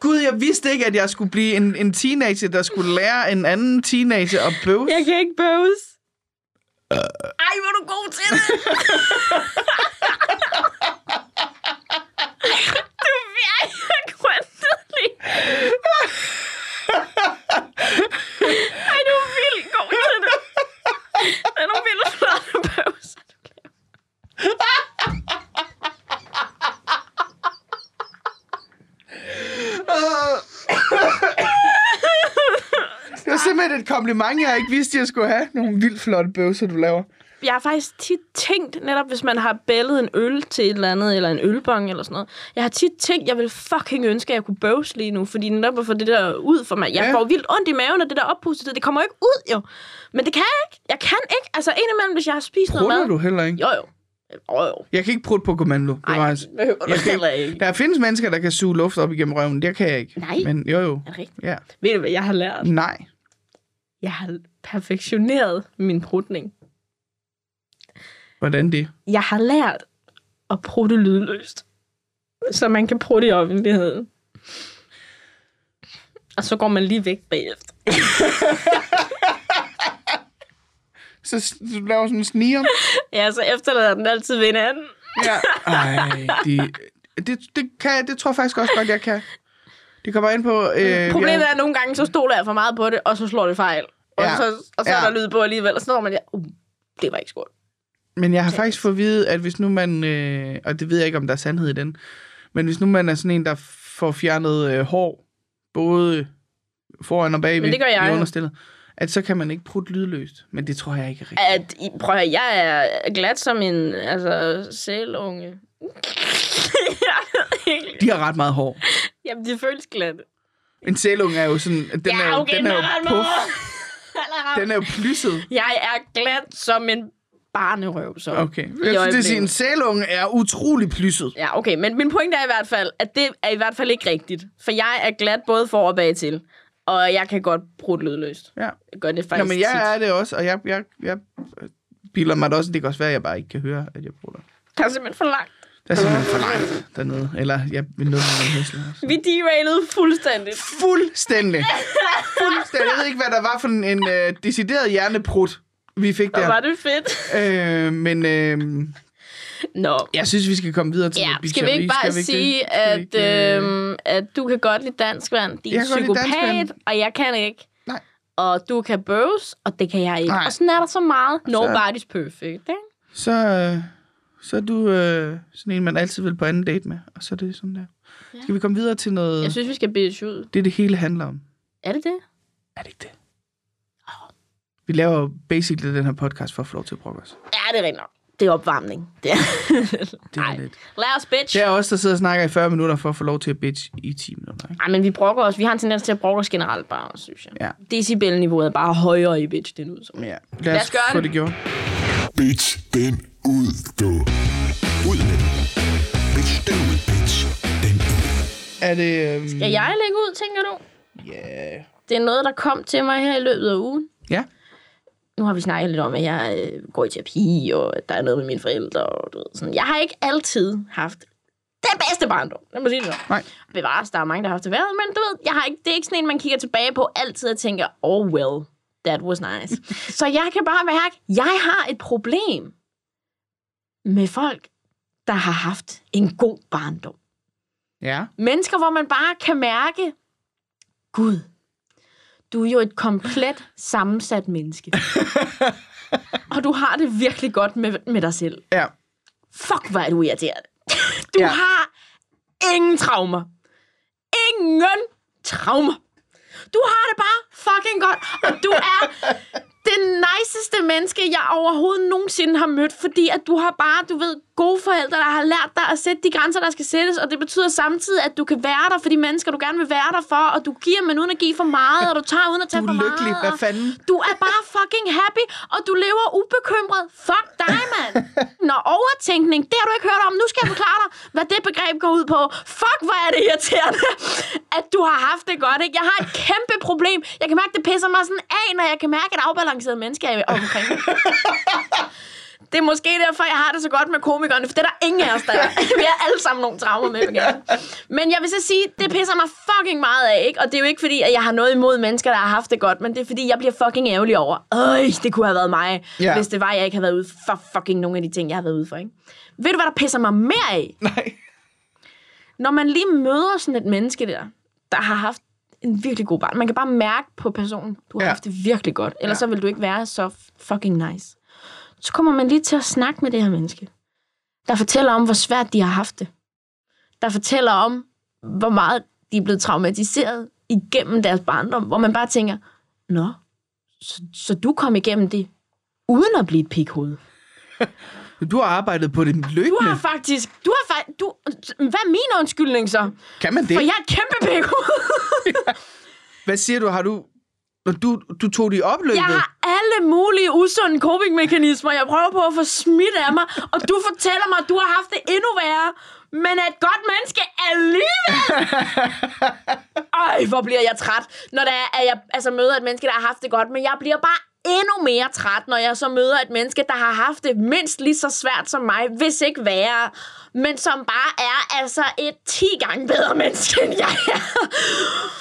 [SPEAKER 3] Gud, jeg vidste ikke, at jeg skulle blive en, en teenager, der skulle lære en anden teenager at bøvse.
[SPEAKER 2] Jeg kan ikke bøvse. Ej, hvor er du god til det! du er virkelig grøntet lige. Ej, du er vildt god til det. Det er nogle vildt flotte bøvser. du laver.
[SPEAKER 3] Det var simpelthen et kompliment, jeg ikke vidste, jeg skulle have. Nogle vildt flotte bøvser, du laver.
[SPEAKER 2] Jeg har faktisk tit tænkt, netop hvis man har bællet en øl til et eller andet, eller en ølbong eller sådan noget. Jeg har tit tænkt, jeg vil fucking ønske, at jeg kunne bøvse lige nu, fordi netop at få det der ud for mig. Jeg
[SPEAKER 3] Ja.
[SPEAKER 2] ja. får vildt ondt i maven, og det der oppustet, det kommer jo ikke ud jo. Men det kan jeg ikke. Jeg kan ikke. Altså indimellem, hvis jeg har spist noget
[SPEAKER 3] Ruller
[SPEAKER 2] mad.
[SPEAKER 3] du heller ikke?
[SPEAKER 2] Jo jo. Jo jo.
[SPEAKER 3] Jeg kan ikke prutte på kommando. Det
[SPEAKER 2] Ej,
[SPEAKER 3] var
[SPEAKER 2] det
[SPEAKER 3] altså-
[SPEAKER 2] behøver du
[SPEAKER 3] Jeg kan
[SPEAKER 2] heller ikke.
[SPEAKER 3] Der findes mennesker, der kan suge luft op igennem røven. Det kan jeg ikke.
[SPEAKER 2] Nej.
[SPEAKER 3] Men jo jo.
[SPEAKER 2] Er det rigtigt?
[SPEAKER 3] Ja.
[SPEAKER 2] Ved du, hvad jeg har lært?
[SPEAKER 3] Nej.
[SPEAKER 2] Jeg har perfektioneret min prutning.
[SPEAKER 3] Hvordan det?
[SPEAKER 2] Jeg har lært at prutte lydløst. Så man kan prutte i offentligheden. Og så går man lige væk bagefter.
[SPEAKER 3] Så s- du laver sådan en sniger.
[SPEAKER 2] Ja, så efterlader den altid ved hinanden.
[SPEAKER 3] Øh, Ja. Ej, de, det, det, kan, jeg- det tror jeg faktisk også godt, jeg kan. Det kommer ind på... Øh,
[SPEAKER 2] Problemet er, at nogle gange, så stoler jeg for meget på det, og så slår det fejl. Og
[SPEAKER 3] Ja.
[SPEAKER 2] ja. så, og så ja. er
[SPEAKER 3] Ja.
[SPEAKER 2] der lyd på alligevel, og så når man, ja, uh, det var ikke skål.
[SPEAKER 3] Men jeg har faktisk fået at vide, at hvis nu man, øh, og det ved jeg ikke, om der er sandhed i den, men hvis nu man er sådan en, der får fjernet øh, hår, både foran og bagved,
[SPEAKER 2] Men det gør jeg
[SPEAKER 3] i
[SPEAKER 2] jo.
[SPEAKER 3] understillet, at så kan man ikke prutte lydløst. Men det tror jeg ikke er rigtigt.
[SPEAKER 2] At, I- prøv at høre, jeg er glat som en altså, sælunge.
[SPEAKER 3] De har ret meget hår.
[SPEAKER 2] Jamen, det føles glat.
[SPEAKER 3] En sælunge er jo sådan... Den er jo, den er jo
[SPEAKER 2] ret
[SPEAKER 3] puff.
[SPEAKER 2] meget.
[SPEAKER 3] Den er jo plysset.
[SPEAKER 2] Jeg er glat som en barnerøv, så.
[SPEAKER 3] Okay.
[SPEAKER 2] I
[SPEAKER 3] Jeg synes, det
[SPEAKER 2] øjeblikket.
[SPEAKER 3] at sige, en sælunge er utrolig plysset.
[SPEAKER 2] Ja, okay, men min pointe er i hvert fald, at det er i hvert fald ikke rigtigt. For jeg er glat både for og bag til. Og jeg kan godt bruge det lydløst.
[SPEAKER 3] Ja.
[SPEAKER 2] Jeg gør det faktisk
[SPEAKER 3] Nå, men
[SPEAKER 2] tit.
[SPEAKER 3] jeg er det også, og jeg, jeg, jeg biler mig det også. Det kan også være, at jeg bare ikke kan høre, at jeg bruger det.
[SPEAKER 2] Der er simpelthen for langt.
[SPEAKER 3] Der er simpelthen for langt dernede. Eller jeg vil nå min hørsel. også.
[SPEAKER 2] Vi derailede fuldstændig.
[SPEAKER 3] Fuldstændig. Fuldstændig. Jeg ved ikke, hvad der var for en, en øh, decideret hjerneprut, vi fik
[SPEAKER 2] Ja. Var
[SPEAKER 3] der.
[SPEAKER 2] det fedt?
[SPEAKER 3] Øh, men øh,
[SPEAKER 2] Nå.
[SPEAKER 3] jeg synes, vi skal komme videre til
[SPEAKER 2] Ja,
[SPEAKER 3] noget
[SPEAKER 2] skal vi ikke bare
[SPEAKER 3] bitcheri. Skal vi
[SPEAKER 2] sige,
[SPEAKER 3] det? Skal vi
[SPEAKER 2] at,
[SPEAKER 3] ikke,
[SPEAKER 2] øh, at du kan godt lide dansk vand, din
[SPEAKER 3] Jeg kan godt lide dansk
[SPEAKER 2] psykopat,
[SPEAKER 3] vand.
[SPEAKER 2] og jeg kan ikke.
[SPEAKER 3] Nej.
[SPEAKER 2] Og du kan bøves, og det kan jeg ikke.
[SPEAKER 3] Nej.
[SPEAKER 2] Nej. Og sådan er der så meget. Nobody's perfect, ikke?
[SPEAKER 3] Så, øh, så er du øh, sådan en, man altid vil på anden date med. Og så er det sådan der. Skal vi komme videre til noget,
[SPEAKER 2] Jeg synes, vi skal bitch ud.
[SPEAKER 3] det det hele handler om?
[SPEAKER 2] Er det det?
[SPEAKER 3] Er det ikke det? Vi laver jo basically den her podcast for at få lov til at brokke os.
[SPEAKER 2] Ja, det er rigtigt nok. Det er opvarmning. Det er.
[SPEAKER 3] Det er
[SPEAKER 2] Ej.
[SPEAKER 3] lidt.
[SPEAKER 2] Lad os bitch.
[SPEAKER 3] Det
[SPEAKER 2] Ja.
[SPEAKER 3] er os, der sidder og snakker i 40 minutter for at få lov til at bitch i 10 minutter. Ikke?
[SPEAKER 2] Ej, men vi brokker os. Vi har en tendens til at brokke os generelt bare, synes jeg.
[SPEAKER 3] Ja.
[SPEAKER 2] Decibel-niveauet er bare højere i bitch, det ud som.
[SPEAKER 3] Ja. Lad os,
[SPEAKER 2] Lad os gøre
[SPEAKER 3] få
[SPEAKER 2] det.
[SPEAKER 3] det, det gjort.
[SPEAKER 1] Bitch den ud, du. Ud med den. Bitch den ud, bitch. Den ud.
[SPEAKER 3] Er det... Øhm,
[SPEAKER 2] Skal jeg lægge ud, tænker du?
[SPEAKER 3] Ja.
[SPEAKER 2] Det er noget, der kom til mig her i løbet af ugen.
[SPEAKER 3] Ja.
[SPEAKER 2] Nu har vi snakket lidt om, at jeg øh, går i terapi, og at der er noget med mine forældre. Og du ved, sådan. Jeg har ikke altid haft den bedste barndom. Lad mig sige det så.
[SPEAKER 3] Nej.
[SPEAKER 2] Bevares, der er mange, der har haft det værre, men du ved, jeg har ikke, det er ikke sådan en, man kigger tilbage på altid og tænker, oh well, that was nice. så jeg kan bare mærke, jeg har et problem med folk, der har haft en god barndom.
[SPEAKER 3] Ja.
[SPEAKER 2] Mennesker, hvor man bare kan mærke, Gud, du er jo et komplet sammensat menneske. og du har det virkelig godt med, med dig selv.
[SPEAKER 3] Ja.
[SPEAKER 2] Fuck, hvor er du irriterende. Du
[SPEAKER 3] Ja.
[SPEAKER 2] ja. har ingen traumer. Ingen traumer. Du har det bare fucking godt, og du er det niceste menneske, jeg overhovedet nogensinde har mødt, fordi at du har bare, du ved, gode forældre, der har lært dig at sætte de grænser, der skal sættes, og det betyder samtidig, at du kan være der for de mennesker, du gerne vil være der for, og du giver, men uden at give for meget, og du tager uden at tage
[SPEAKER 3] Du er
[SPEAKER 2] for meget.
[SPEAKER 3] lykkelig, hvad
[SPEAKER 2] og
[SPEAKER 3] fanden?
[SPEAKER 2] Du er bare fucking happy, og du lever ubekymret. Fuck dig, mand. Når overtænkning, det har du ikke hørt om. Nu skal jeg forklare dig, hvad det begreb går ud på. Fuck, hvor er det irriterende, at du har haft det godt, ikke? Jeg har et kæmpe problem. Jeg kan mærke, det pisser mig sådan af, når jeg kan mærke, at afbalanceret mennesker er omkring mig. Det er måske derfor, jeg har det så godt med komikerne, for det er der ingen af os, der er. Vi har alle sammen nogle traumer med, vil jeg gerne. Men jeg vil så sige, det pisser mig fucking meget af, ikke? Og det er jo ikke fordi, at jeg har noget imod mennesker, der har haft det godt, men det er fordi, jeg bliver fucking ærgerlig over, øj, det kunne have været mig,
[SPEAKER 3] Ja.
[SPEAKER 2] ja. hvis det var, jeg ikke havde været ude for fucking nogle af de ting, jeg har været ude for, ikke? Ved du, hvad der pisser mig mere af?
[SPEAKER 3] Nej.
[SPEAKER 2] Når man lige møder sådan et menneske der, der har haft en virkelig god barn. Man kan bare mærke på personen, du har
[SPEAKER 3] Ja.
[SPEAKER 2] ja. haft det virkelig godt. Ellers ja. så
[SPEAKER 3] Ja.
[SPEAKER 2] vil du ikke være så fucking nice. Så kommer man lige til at snakke med det her menneske, der fortæller om, hvor svært de har haft det. Der fortæller om, hvor meget de er blevet traumatiseret igennem deres barndom, hvor man bare tænker, nå, så, så du kom igennem det, uden at blive et pikhoved.
[SPEAKER 3] Du har arbejdet på det
[SPEAKER 2] Du har
[SPEAKER 3] løbende.
[SPEAKER 2] faktisk, du har faktisk, du, hvad er min undskyldning så?
[SPEAKER 3] Kan man
[SPEAKER 2] For
[SPEAKER 3] det?
[SPEAKER 2] jeg er et kæmpe pikhoved.
[SPEAKER 3] Hvad siger du? Har du... Når du, du tog det i opløbet?
[SPEAKER 2] Jeg har alle mulige usunde copingmekanismer, jeg prøver på at få smidt af mig, og du fortæller mig, at du har haft det endnu værre, men er et godt menneske alligevel. Øj, hvor bliver jeg træt, når der er, at jeg altså, møder et menneske, der har haft det godt, men jeg bliver bare endnu mere træt, når jeg så møder et menneske, der har haft det mindst lige så svært som mig, hvis ikke værre, men som bare er altså et 10 gange bedre menneske, end jeg er.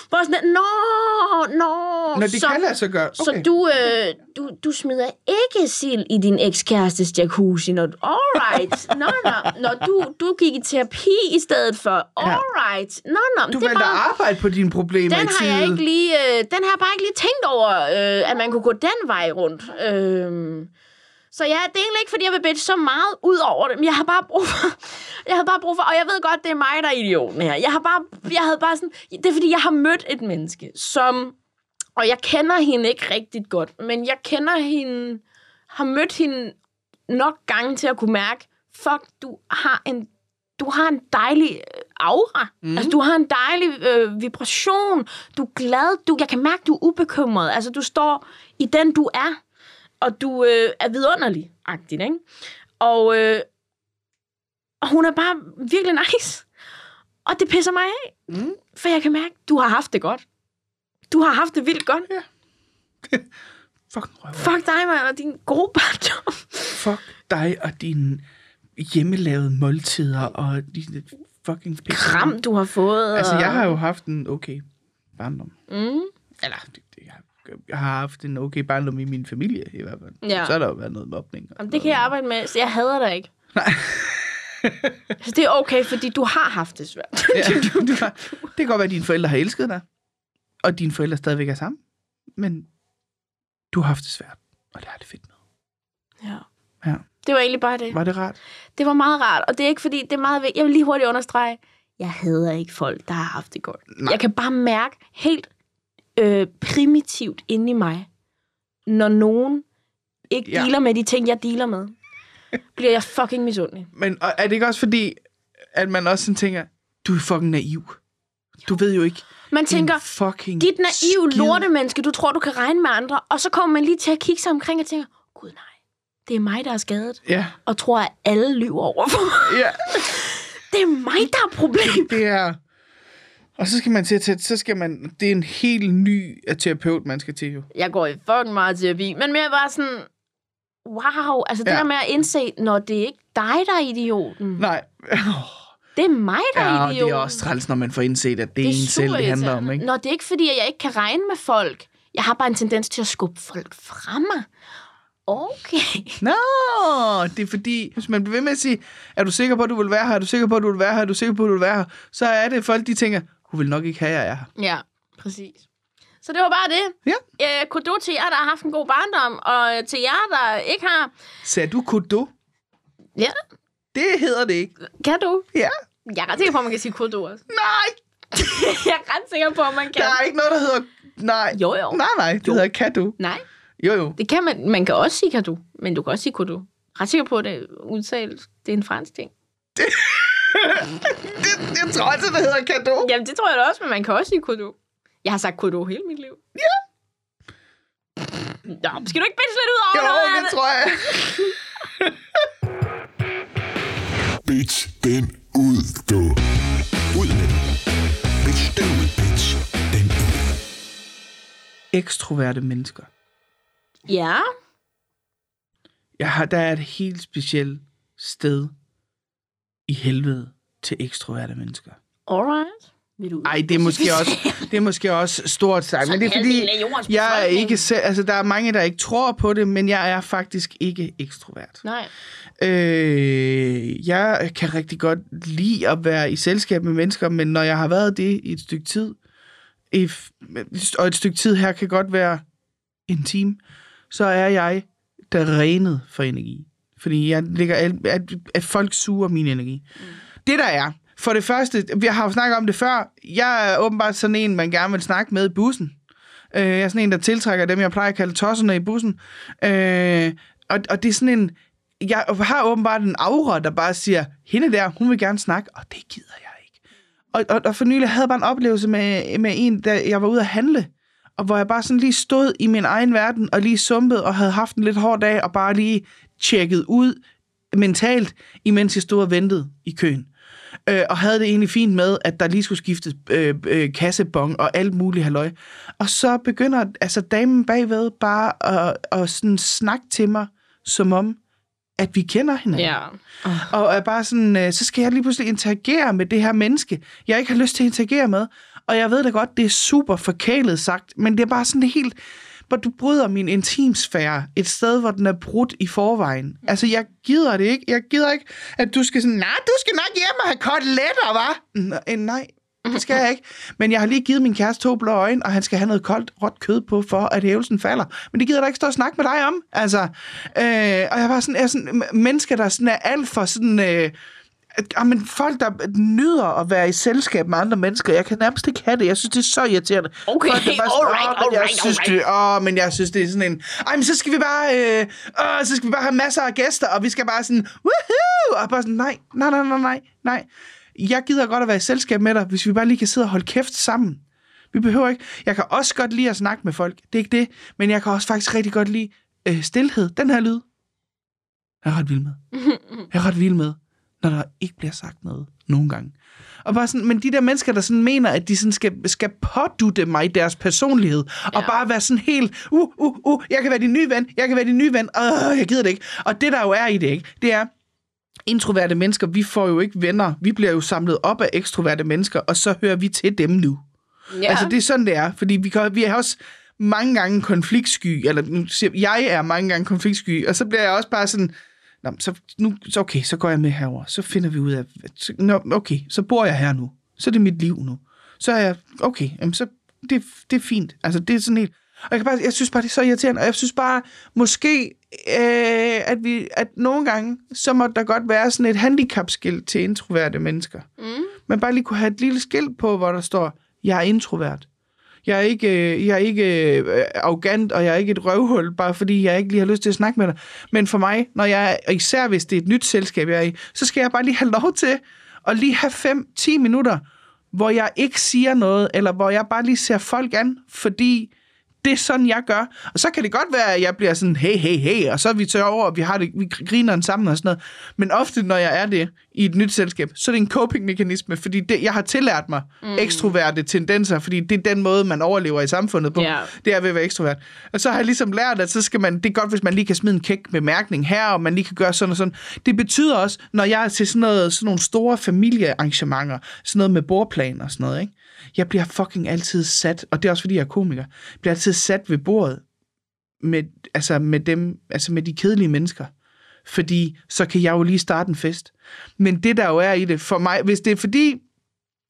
[SPEAKER 2] Hvor jeg sådan, lidt, nå, nå.
[SPEAKER 3] Nå, det
[SPEAKER 2] så,
[SPEAKER 3] kan lade sig gøre. Okay.
[SPEAKER 2] Så du, øh, du, du smider ikke sild i din ekskærestes jacuzzi. Når du, all right. Nå, nå. Når du, du gik i terapi i stedet for. All right. Nå, nå.
[SPEAKER 3] du
[SPEAKER 2] det er
[SPEAKER 3] valgte
[SPEAKER 2] bare-
[SPEAKER 3] at arbejde på dine problemer
[SPEAKER 2] den
[SPEAKER 3] i
[SPEAKER 2] har
[SPEAKER 3] tide.
[SPEAKER 2] jeg ikke lige, øh, den har jeg bare ikke lige tænkt over, øh, at man kunne gå den vej rundt. Øh, så ja, det er egentlig ikke, fordi jeg vil bitch så meget ud over det, men jeg har bare brug for, jeg havde bare brug for, og jeg ved godt, det er mig, der er idioten her. Jeg har bare, jeg havde bare sådan, det er fordi, jeg har mødt et menneske, som, og jeg kender hende ikke rigtig godt, men jeg kender hende, har mødt hende nok gange til at kunne mærke, fuck, du har en, du har en dejlig øh, aura. Mm. Altså, du har en dejlig øh, vibration. Du er glad. Du, jeg kan mærke, du er ubekymret. Altså, du står i den, du er. Og du øh, er vidunderlig, agtigt, ikke? Og, øh, og hun er bare virkelig nice. Og det pisser mig af.
[SPEAKER 3] Mm.
[SPEAKER 2] For jeg kan mærke, du har haft det godt. Du har haft det vildt godt.
[SPEAKER 3] Fuck, røv.
[SPEAKER 2] Fuck dig, mand, og din gode barndom.
[SPEAKER 3] Fuck dig og dine hjemmelavede måltider og dine fucking pisse.
[SPEAKER 2] Kram, du har fået.
[SPEAKER 3] Altså, jeg
[SPEAKER 2] og-
[SPEAKER 3] har jo haft en okay barndom.
[SPEAKER 2] Mm.
[SPEAKER 3] Eller, det, det, jeg, har- jeg har haft en okay barndom i min familie, i hvert fald.
[SPEAKER 2] Ja.
[SPEAKER 3] Så har der jo været noget mobning. og
[SPEAKER 2] Jamen, det kan jeg arbejde med, så jeg hader dig ikke. Nej. så det er okay, fordi du har haft det svært.
[SPEAKER 3] Ja, du har- det kan godt være, at dine forældre har elsket dig, og dine forældre stadigvæk er sammen, men du har haft det svært, og det har det fedt med.
[SPEAKER 2] Ja.
[SPEAKER 3] Ja.
[SPEAKER 2] Det var egentlig bare det.
[SPEAKER 3] Var det rart?
[SPEAKER 2] Det var meget rart, og det er ikke fordi, det er meget vigtigt. Jeg vil lige hurtigt understrege, jeg hader ikke folk, der har haft det godt.
[SPEAKER 3] Nej.
[SPEAKER 2] Jeg kan bare mærke helt øh, primitivt inde i mig, når nogen ikke
[SPEAKER 3] Ja.
[SPEAKER 2] ja. dealer med de ting, jeg dealer med, bliver jeg fucking misundelig.
[SPEAKER 3] Men og er det ikke også fordi, at man også sådan tænker, du er fucking naiv. Du ved jo ikke,
[SPEAKER 2] Man tænker,
[SPEAKER 3] din fucking
[SPEAKER 2] dit naive
[SPEAKER 3] skid.
[SPEAKER 2] lortemenneske, du tror, du kan regne med andre, og så kommer man lige til at kigge sig omkring og tænker, gud nej, det er mig, der er skadet,
[SPEAKER 3] Ja,
[SPEAKER 2] og tror, at alle lyver over for mig.
[SPEAKER 3] ja,
[SPEAKER 2] Det er mig, der er problemet.
[SPEAKER 3] det er... Og så skal man til at tæt, så skal man... Det er en helt ny øh, terapeut, man skal til jo.
[SPEAKER 2] Jeg går i fucking meget terapi, men mere bare sådan, wow, altså det
[SPEAKER 3] Ja.
[SPEAKER 2] der med at indse, når det er ikke dig, der er idioten.
[SPEAKER 3] Nej.
[SPEAKER 2] Det er mig, der
[SPEAKER 3] Ja,
[SPEAKER 2] er
[SPEAKER 3] og det
[SPEAKER 2] idioten.
[SPEAKER 3] er også træls, når man får indset, at det, det er en selv, det handler om,
[SPEAKER 2] superirriterende.
[SPEAKER 3] ikke?
[SPEAKER 2] Nå, det er ikke fordi, at jeg ikke kan regne med folk. Jeg har bare en tendens til at skubbe folk fra mig. Okay.
[SPEAKER 3] Nå, det er fordi, hvis man bliver ved med at sige, er du sikker på, at du vil være her? Er du sikker på, at du vil være her? Er du sikker på, at du vil være her? Så er det folk, de tænker, hun vil nok ikke have, at jeg er her.
[SPEAKER 2] Ja, præcis. Så det var bare det.
[SPEAKER 3] Ja.
[SPEAKER 2] Øh, kudo til jer, der har haft en god barndom, og øh, til jer, der ikke har...
[SPEAKER 3] Sagde du kudo?
[SPEAKER 2] Ja,
[SPEAKER 3] Det hedder det ikke.
[SPEAKER 2] kan du?
[SPEAKER 3] Ja.
[SPEAKER 2] Jeg er ret sikker på, at man kan sige kudo også.
[SPEAKER 3] Nej,
[SPEAKER 2] jeg er ret sikker på, at man kan.
[SPEAKER 3] der er ikke noget, der hedder... Nej.
[SPEAKER 2] Jo, jo.
[SPEAKER 3] Nej, nej, det
[SPEAKER 2] Jo.
[SPEAKER 3] hedder kado.
[SPEAKER 2] Nej,
[SPEAKER 3] Jo, jo.
[SPEAKER 2] det kan man. Man kan også sige kado, men du kan også sige kudo. Ret sikker på, at det er udtalt. Det er en fransk ting.
[SPEAKER 3] Det, jeg tror altid, det hedder kado. Ja.
[SPEAKER 2] Jamen, det tror jeg da også, men man kan også sige kudo. Jeg har sagt kudo hele mit liv. Ja. Nå, skal du ikke bitch lidt ud over
[SPEAKER 3] Jo,
[SPEAKER 2] noget?
[SPEAKER 3] det
[SPEAKER 2] Anne?
[SPEAKER 3] tror jeg.
[SPEAKER 1] Bitch den ud, du. Ud med den. Bitch den ud, bitch den ud.
[SPEAKER 3] Ekstroverte mennesker.
[SPEAKER 2] Ja.
[SPEAKER 3] Jeg har, der er et helt specielt sted i helvede til ekstroverte mennesker.
[SPEAKER 2] Alright. Vil du
[SPEAKER 3] Ej, det er måske også, det er måske også stort sagt, men det er fordi,
[SPEAKER 2] halvdelen af jordens
[SPEAKER 3] jeg er
[SPEAKER 2] befolkning.
[SPEAKER 3] ikke selv, altså der er mange, der ikke tror på det, men jeg er faktisk ikke ekstrovert.
[SPEAKER 2] Nej.
[SPEAKER 3] Øh, jeg kan rigtig godt lide at være i selskab med mennesker, men når jeg har været det i et stykke tid, if, og et stykke tid her kan godt være en time, så er jeg drænet for energi. Fordi jeg ligger, alt- at, at folk suger min energi. Mm. Det der er, for det første, vi har jo snakket om det før, jeg er åbenbart sådan en, man gerne vil snakke med i bussen. Øh, jeg er sådan en, der tiltrækker dem, jeg plejer at kalde tosserne i bussen. Øh, og, og det er sådan en... Jeg har åbenbart en aura, der bare siger, hende der, hun vil gerne snakke, og det gider jeg ikke. Og, og, og for nylig havde jeg bare en oplevelse med, med en, da jeg var ude at handle, og hvor jeg bare sådan lige stod i min egen verden, og lige sumpede, og havde haft en lidt hård dag, og bare lige tjekket ud mentalt, imens jeg stod og ventede i køen. Øh, og havde det egentlig fint med, at der lige skulle skiftes øh, øh, kassebong og alt muligt halløj. Og så begynder altså damen bagved bare at, at sådan snakke til mig, som om, at vi kender hinanden.
[SPEAKER 2] Ja.
[SPEAKER 3] Og er bare sådan, øh, så skal jeg lige pludselig interagere med det her menneske, jeg ikke har lyst til at interagere med. Og jeg ved da godt, det er super forkælet sagt, men det er bare sådan helt... Hvor du bryder min intimsfære et sted, hvor den er brudt i forvejen. Altså, jeg gider det ikke. Jeg gider ikke, at du skal sådan, nej, du skal nok hjem og have koteletter, hva'? N- øh, nej, det skal jeg ikke. Men jeg har lige givet min kæreste to blå øjne, og han skal have noget koldt, råt kød på, for at hævelsen falder. Men det gider jeg da ikke stå og snakke med dig om. Altså, øh, og jeg var sådan, jeg er sådan, m- mennesker, der sådan er alt for sådan... Øh, at- Jamen, folk, der nyder at være i selskab med andre mennesker, jeg kan nærmest ikke have det. Jeg synes, det er så irriterende.
[SPEAKER 2] Okay,
[SPEAKER 3] Folk, der bare sådan,
[SPEAKER 2] alright,
[SPEAKER 3] "Åh, men jeg
[SPEAKER 2] alright,
[SPEAKER 3] synes, det, åh, men jeg synes, det er sådan en... Ej, men så skal vi bare... Øh, åh, så skal vi bare have masser af gæster, og vi skal bare sådan... Woohoo! Og bare sådan, nej, nej, nej, nej, nej, nej. Jeg gider godt at være i selskab med dig, hvis vi bare lige kan sidde og holde kæft sammen. Vi behøver ikke... Jeg kan også godt lide at snakke med folk. Det er ikke det. Men jeg kan også faktisk rigtig godt lide øh, stillhed. Den her lyd. Jeg er ret vild med. Jeg er ret vild med, når der ikke bliver sagt noget nogle gange. Og bare sådan, men de der mennesker, der sådan mener, at de sådan skal, skal pådutte mig deres personlighed, og
[SPEAKER 2] Ja.
[SPEAKER 3] bare være sådan helt, uh, uh, uh, jeg kan være din nye ven, jeg kan være din nye ven, øh, jeg gider det ikke. Og det, der jo er i det, ikke, det er, introverte mennesker, vi får jo ikke venner. Vi bliver jo samlet op af ekstroverte mennesker, og så hører vi til dem nu.
[SPEAKER 2] Ja.
[SPEAKER 3] Ja. Altså, det er sådan, det er. Fordi vi, kan, vi er også mange gange konfliktsky, eller nu siger jeg, jeg er mange gange konfliktsky, og så bliver jeg også bare sådan, Nå, men så, nu, så okay, så går jeg med herover, så finder vi ud af, så, nå, okay, så bor jeg her nu, så er det mit liv nu, så er jeg, okay, jamen, så, det, det er fint, altså det er sådan helt, og jeg, kan bare, jeg synes bare, det er så irriterende, og jeg synes bare, måske, øh, at, vi, at nogle gange, så må der godt være sådan et handicapskilt til introverte mennesker. Mm. Man bare lige kunne have et lille skilt på, hvor der står, jeg er introvert. Jeg er ikke, øh, jeg er ikke øh, arrogant, og jeg er ikke et røvhul, bare fordi jeg ikke lige har lyst til at snakke med dig. Men for mig, når jeg, og især hvis det er et nyt selskab, jeg er i, så skal jeg bare lige have lov til at lige have 5-10 minutter, hvor jeg ikke siger noget, eller hvor jeg bare lige ser folk an, fordi det er sådan, jeg gør. Og så kan det godt være, at jeg bliver sådan, hey, hey, hey, og så er vi tør over, og vi, har det, vi griner den sammen og sådan noget. Men ofte, når jeg er det i et nyt selskab, så er det en coping-mekanisme, fordi det, jeg har tillært mig mm. ekstroverte tendenser, fordi det er den måde, man overlever i samfundet på.
[SPEAKER 2] Ja.
[SPEAKER 3] Det er ved at være ekstrovert. Og så har jeg ligesom lært, at så skal man, det er godt, hvis man lige kan smide en kæk bemærkning her, og man lige kan gøre sådan og sådan. Det betyder også, når jeg er til sådan, noget, sådan nogle store familiearrangementer, sådan noget med bordplan og sådan noget, ikke? jeg bliver fucking altid sat, og det er også fordi, jeg er komiker, jeg bliver altid sat ved bordet med, altså med, dem, altså med de kedelige mennesker. Fordi så kan jeg jo lige starte en fest. Men det der jo er i det for mig, hvis det er fordi,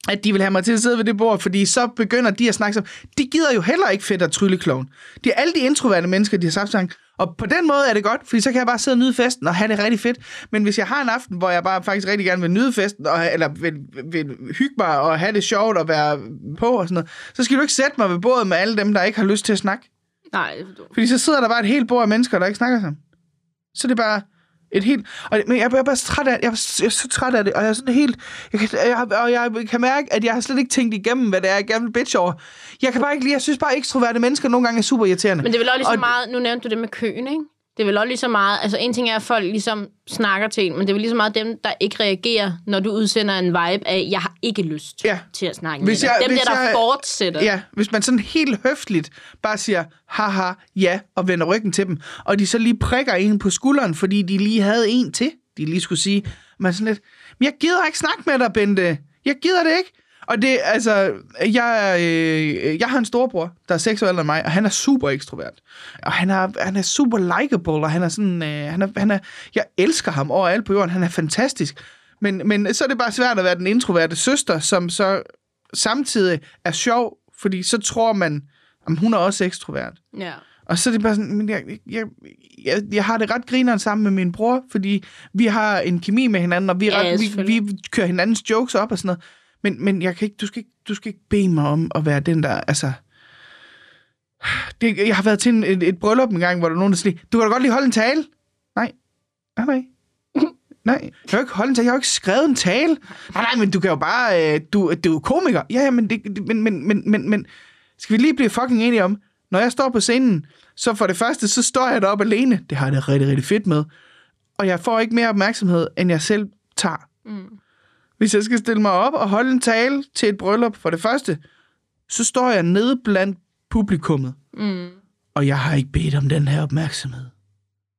[SPEAKER 3] at de vil have mig til at sidde ved det bord, fordi så begynder de at snakke sammen. De gider jo heller ikke fedt og tryllekloven. Det er alle de introverte mennesker, de har sagt sammen. Og på den måde er det godt, fordi så kan jeg bare sidde og nyde festen og have det rigtig fedt. Men hvis jeg har en aften, hvor jeg bare faktisk rigtig gerne vil nyde festen, og, eller vil, vil, hygge mig og have det sjovt og være på og sådan noget, så skal du ikke sætte mig ved bordet med alle dem, der ikke har lyst til at snakke.
[SPEAKER 2] Nej, det er dumt.
[SPEAKER 3] Fordi så sidder der bare et helt bord af mennesker, der ikke snakker sammen. Så det er bare et helt... Og, men jeg, jeg er bare så træt af, jeg, er, jeg er så træt af det, og jeg er sådan helt... Jeg kan, jeg, og jeg kan mærke, at jeg har slet ikke tænkt igennem, hvad det er, jeg gerne vil bitch over. Jeg kan bare ikke lide... Jeg synes bare, at ekstroverte mennesker nogle gange er super irriterende.
[SPEAKER 2] Men det er vel også lige så
[SPEAKER 3] Og-
[SPEAKER 2] meget, nu nævnte du det med køen, ikke? Det er vel også lige så meget, altså en ting er, at folk ligesom snakker til en, men det er vel lige så meget dem, der ikke reagerer, når du udsender en vibe af, jeg har ikke lyst
[SPEAKER 3] Ja.
[SPEAKER 2] til at snakke
[SPEAKER 3] Hvis
[SPEAKER 2] med
[SPEAKER 3] jeg-
[SPEAKER 2] dig. Dem
[SPEAKER 3] hvis
[SPEAKER 2] der, der
[SPEAKER 3] jeg-
[SPEAKER 2] fortsætter.
[SPEAKER 3] Ja, hvis man sådan helt høfligt bare siger, haha, ja, og vender ryggen til dem, og de så lige prikker en på skulderen, fordi de lige havde en til, de lige skulle sige, man er sådan lidt, men jeg gider ikke snakke med dig, Bente. Jeg gider det ikke. Og det, altså, jeg, øh, jeg har en storbror, der er seks år ældre end mig, og han er super ekstrovert. Og han er, han er super likable, og han er sådan, øh, han er, han er, jeg elsker ham overalt på jorden, han er fantastisk. Men, men så er det bare svært at være den introverte søster, som så samtidig er sjov, fordi så tror man, at hun er også ekstrovert.
[SPEAKER 2] Ja.
[SPEAKER 3] Og så er det bare sådan, men jeg, jeg, jeg, jeg har det ret grineren sammen med min bror, fordi vi har en kemi med hinanden, og vi, er
[SPEAKER 2] Ja,
[SPEAKER 3] ret, vi,
[SPEAKER 2] selvfølgelig.
[SPEAKER 3] vi kører hinandens jokes op og sådan noget. Men, men jeg kan ikke, du, skal ikke, du skal ikke bede mig om at være den der, altså... Det, jeg har været til en, et, et bryllup en gang, hvor der var nogen, der sagde, du kan da godt lige holde en tale. Nej, nej, nej. Nej, jeg kan jo ikke holde en tale. Jeg har jo ikke skrevet en tale. Nej, nej, men du kan jo bare... Øh, du, du er jo komiker. Ja, ja, men, det, det- men, men, men, men, men... Skal vi lige blive fucking enige om, når jeg står på scenen, så for det første, så står jeg deroppe alene. Det har jeg det rigtig, rigtig fedt med. Og jeg får ikke mere opmærksomhed, end jeg selv tager. Mm. Hvis jeg skal stille mig op og holde en tale til et bryllup, for det første, så står jeg nede blandt publikummet.
[SPEAKER 2] Mm.
[SPEAKER 3] Og jeg har ikke bedt om den her opmærksomhed.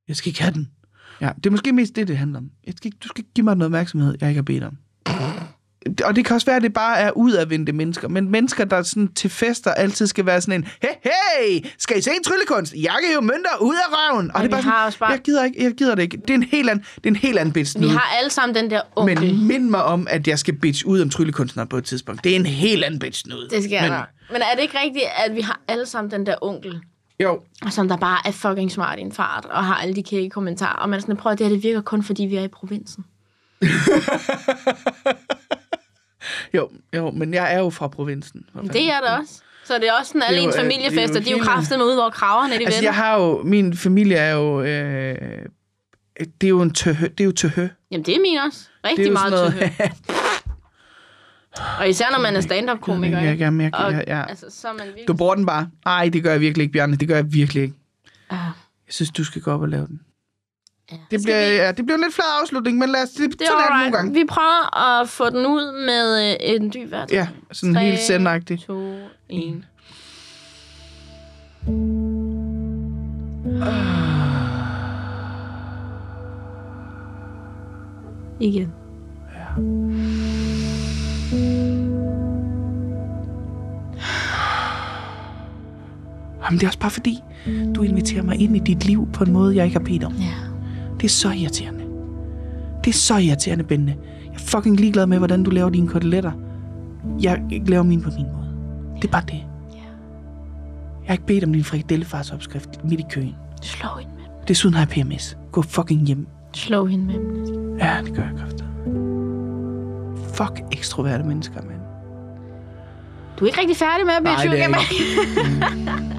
[SPEAKER 3] Jeg skal ikke have den. Ja, det er måske mest det, det handler om. Jeg skal ikke, du skal ikke give mig noget opmærksomhed, jeg ikke har bedt om. og det kan også være, at det bare er udadvendte mennesker, men mennesker, der sådan til fester altid skal være sådan en, hey, hey, skal I se en tryllekunst? Jeg kan jo mønter ud af røven. Og
[SPEAKER 2] vi
[SPEAKER 3] det er bare
[SPEAKER 2] har
[SPEAKER 3] sådan,
[SPEAKER 2] også bare-
[SPEAKER 3] jeg gider ikke, jeg gider det ikke. Det er en helt anden, det er en helt anden bitch
[SPEAKER 2] Vi
[SPEAKER 3] nu.
[SPEAKER 2] har alle sammen den der onkel.
[SPEAKER 3] Mm. Men mind mig om, at jeg skal bitch ud om tryllekunstnere på et tidspunkt. Det er en helt anden bitch nu.
[SPEAKER 2] Det sker
[SPEAKER 3] men,
[SPEAKER 2] der. Men er det ikke rigtigt, at vi har alle sammen den der onkel,
[SPEAKER 3] Jo,
[SPEAKER 2] som der bare er fucking smart i en fart, og har alle de kække kommentarer, og man er sådan, prøv at det her, det virker kun, fordi vi er i provinsen.
[SPEAKER 3] jo, jo, men jeg er jo fra provinsen. for
[SPEAKER 2] Det er det også. Så det er også sådan, alle
[SPEAKER 3] Det er jo,
[SPEAKER 2] ens
[SPEAKER 3] øh,
[SPEAKER 2] familiefester,
[SPEAKER 3] det
[SPEAKER 2] de
[SPEAKER 3] er
[SPEAKER 2] er
[SPEAKER 3] jo
[SPEAKER 2] jo
[SPEAKER 3] hele-
[SPEAKER 2] kraftedeme ud over kraverne, de
[SPEAKER 3] Altså,
[SPEAKER 2] venner.
[SPEAKER 3] jeg har jo... Min familie er jo... Øh, det er jo en tøhø. Det er jo tøhø.
[SPEAKER 2] Jamen, det er min også.
[SPEAKER 3] Det er
[SPEAKER 2] Rigtig
[SPEAKER 3] jo
[SPEAKER 2] meget noget...
[SPEAKER 3] noget...
[SPEAKER 2] Og især når man er stand-up-komiker.
[SPEAKER 3] Jeg, jeg,
[SPEAKER 2] ikke?
[SPEAKER 3] jeg, jeg,
[SPEAKER 2] Og,
[SPEAKER 3] jeg, jeg.
[SPEAKER 2] altså, så er man virkelig...
[SPEAKER 3] Du bruger den bare. Nej, det gør jeg virkelig ikke, Bjarne. Det gør jeg virkelig ikke.
[SPEAKER 2] Ah,
[SPEAKER 3] Jeg synes, du skal gå op og lave den.
[SPEAKER 2] ja.
[SPEAKER 3] Det
[SPEAKER 2] Skal
[SPEAKER 3] bliver,
[SPEAKER 2] vi-
[SPEAKER 3] ja, det bliver en lidt flad afslutning, men lad os... Det,
[SPEAKER 2] Det
[SPEAKER 3] sådan er det nogle
[SPEAKER 2] er
[SPEAKER 3] gange.
[SPEAKER 2] alright. Vi prøver at få den ud med øh, en dyb vejr.
[SPEAKER 3] Ja, sådan
[SPEAKER 2] Tre,
[SPEAKER 3] helt sendagtigt.
[SPEAKER 2] to, en. Igen.
[SPEAKER 3] Jamen, det er også bare fordi, du inviterer mig ind i dit liv på en måde, jeg ikke har bedt om.
[SPEAKER 2] Ja.
[SPEAKER 3] Det er så irriterende. Det er så irriterende, Bente. Jeg er fucking ligeglad med, hvordan du laver dine koteletter. Jeg laver mine på min måde. Det er bare det. Jeg har ikke bedt om din frikadellefars opskrift midt i køen.
[SPEAKER 2] Slå hende med den.
[SPEAKER 3] Desuden har jeg PMS. Gå fucking hjem.
[SPEAKER 2] Slå hende med den.
[SPEAKER 3] Ja, det gør jeg kraftigt. Fuck ekstroverte mennesker, mand.
[SPEAKER 2] Du er ikke rigtig færdig med at blive
[SPEAKER 3] Nej, det er jeg
[SPEAKER 2] sugar-
[SPEAKER 3] Mm.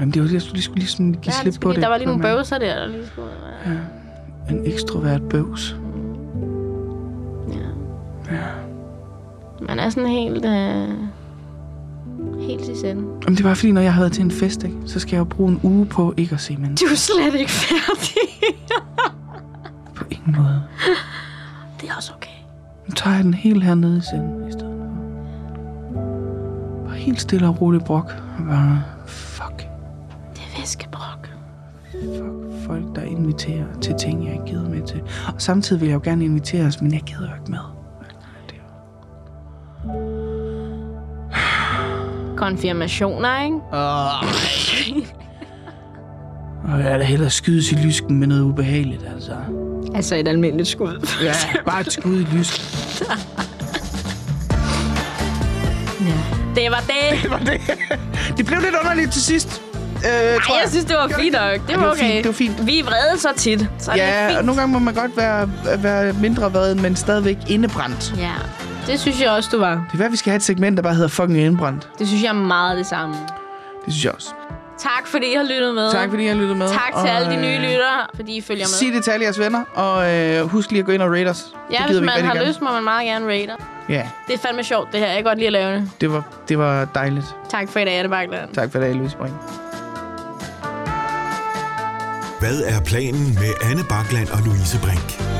[SPEAKER 3] Jamen, det var det, jeg skulle, lige skulle ligesom give
[SPEAKER 2] Ja,
[SPEAKER 3] slip
[SPEAKER 2] det
[SPEAKER 3] på
[SPEAKER 2] skulle
[SPEAKER 3] det.
[SPEAKER 2] lige, der var lige nogle
[SPEAKER 3] Men
[SPEAKER 2] bøvser der, der lige skulle... Ja.
[SPEAKER 3] En ekstrovert bøvs.
[SPEAKER 2] Man er sådan helt... Øh, helt i sende.
[SPEAKER 3] Jamen, det var fordi, når jeg har været til en fest, ikke, så skal jeg jo bruge en uge på ikke at se mennesker.
[SPEAKER 2] Du er slet ikke færdig.
[SPEAKER 3] På ingen måde.
[SPEAKER 2] det er også okay.
[SPEAKER 3] Nu tager jeg den helt hernede i senden i stedet for. Bare helt stille og roligt brok. Og Bare fuck,
[SPEAKER 2] Det er væskebrok.
[SPEAKER 3] fuck folk, der inviterer til ting, jeg ikke gider med til. Og samtidig vil jeg jo gerne invitere os, men jeg gider jo ikke med. Det er jo-
[SPEAKER 2] Konfirmationer, ikke?
[SPEAKER 3] Og jeg er da hellere skydes i lysken med noget ubehageligt, altså.
[SPEAKER 2] Altså et almindeligt skud.
[SPEAKER 3] Ja, bare et skud i lysken.
[SPEAKER 2] Det var det.
[SPEAKER 3] Det var det. Det blev lidt underligt til sidst. Øh, tror
[SPEAKER 2] Ej, jeg synes, det var fint nok. Det var
[SPEAKER 3] var fint,
[SPEAKER 2] okay.
[SPEAKER 3] det var fint.
[SPEAKER 2] Vi er vrede så tit. Så det
[SPEAKER 3] Ja,
[SPEAKER 2] er
[SPEAKER 3] og
[SPEAKER 2] fint.
[SPEAKER 3] nogle gange må man godt være, være mindre vred, men stadigvæk indebrændt.
[SPEAKER 2] Ja, det synes jeg også, du var.
[SPEAKER 3] Det er værd, vi skal have et segment, der bare hedder fucking indbrændt.
[SPEAKER 2] Det synes jeg er meget det samme.
[SPEAKER 3] Det synes jeg også.
[SPEAKER 2] Tak, fordi I har lyttet med.
[SPEAKER 3] Tak fordi I har lyttet med.
[SPEAKER 2] tak til
[SPEAKER 3] og,
[SPEAKER 2] alle de nye
[SPEAKER 3] øh,
[SPEAKER 2] lyttere, fordi I følger med.
[SPEAKER 3] Sig det til alle jeres venner, og øh, husk lige at gå ind og rate os.
[SPEAKER 2] Ja,
[SPEAKER 3] det gider
[SPEAKER 2] hvis
[SPEAKER 3] vi
[SPEAKER 2] man
[SPEAKER 3] rigtig
[SPEAKER 2] har
[SPEAKER 3] gerne.
[SPEAKER 2] lyst, må man meget gerne rate.
[SPEAKER 3] Ja,
[SPEAKER 2] Det er fandme sjovt, det her. Jeg kan godt lide at lave det.
[SPEAKER 3] det var, det var dejligt.
[SPEAKER 2] Tak for i dag, Anne Bakland.
[SPEAKER 3] Tak for det, Louise Brink.
[SPEAKER 1] Hvad er planen med Anne Bakland og Louise Brink?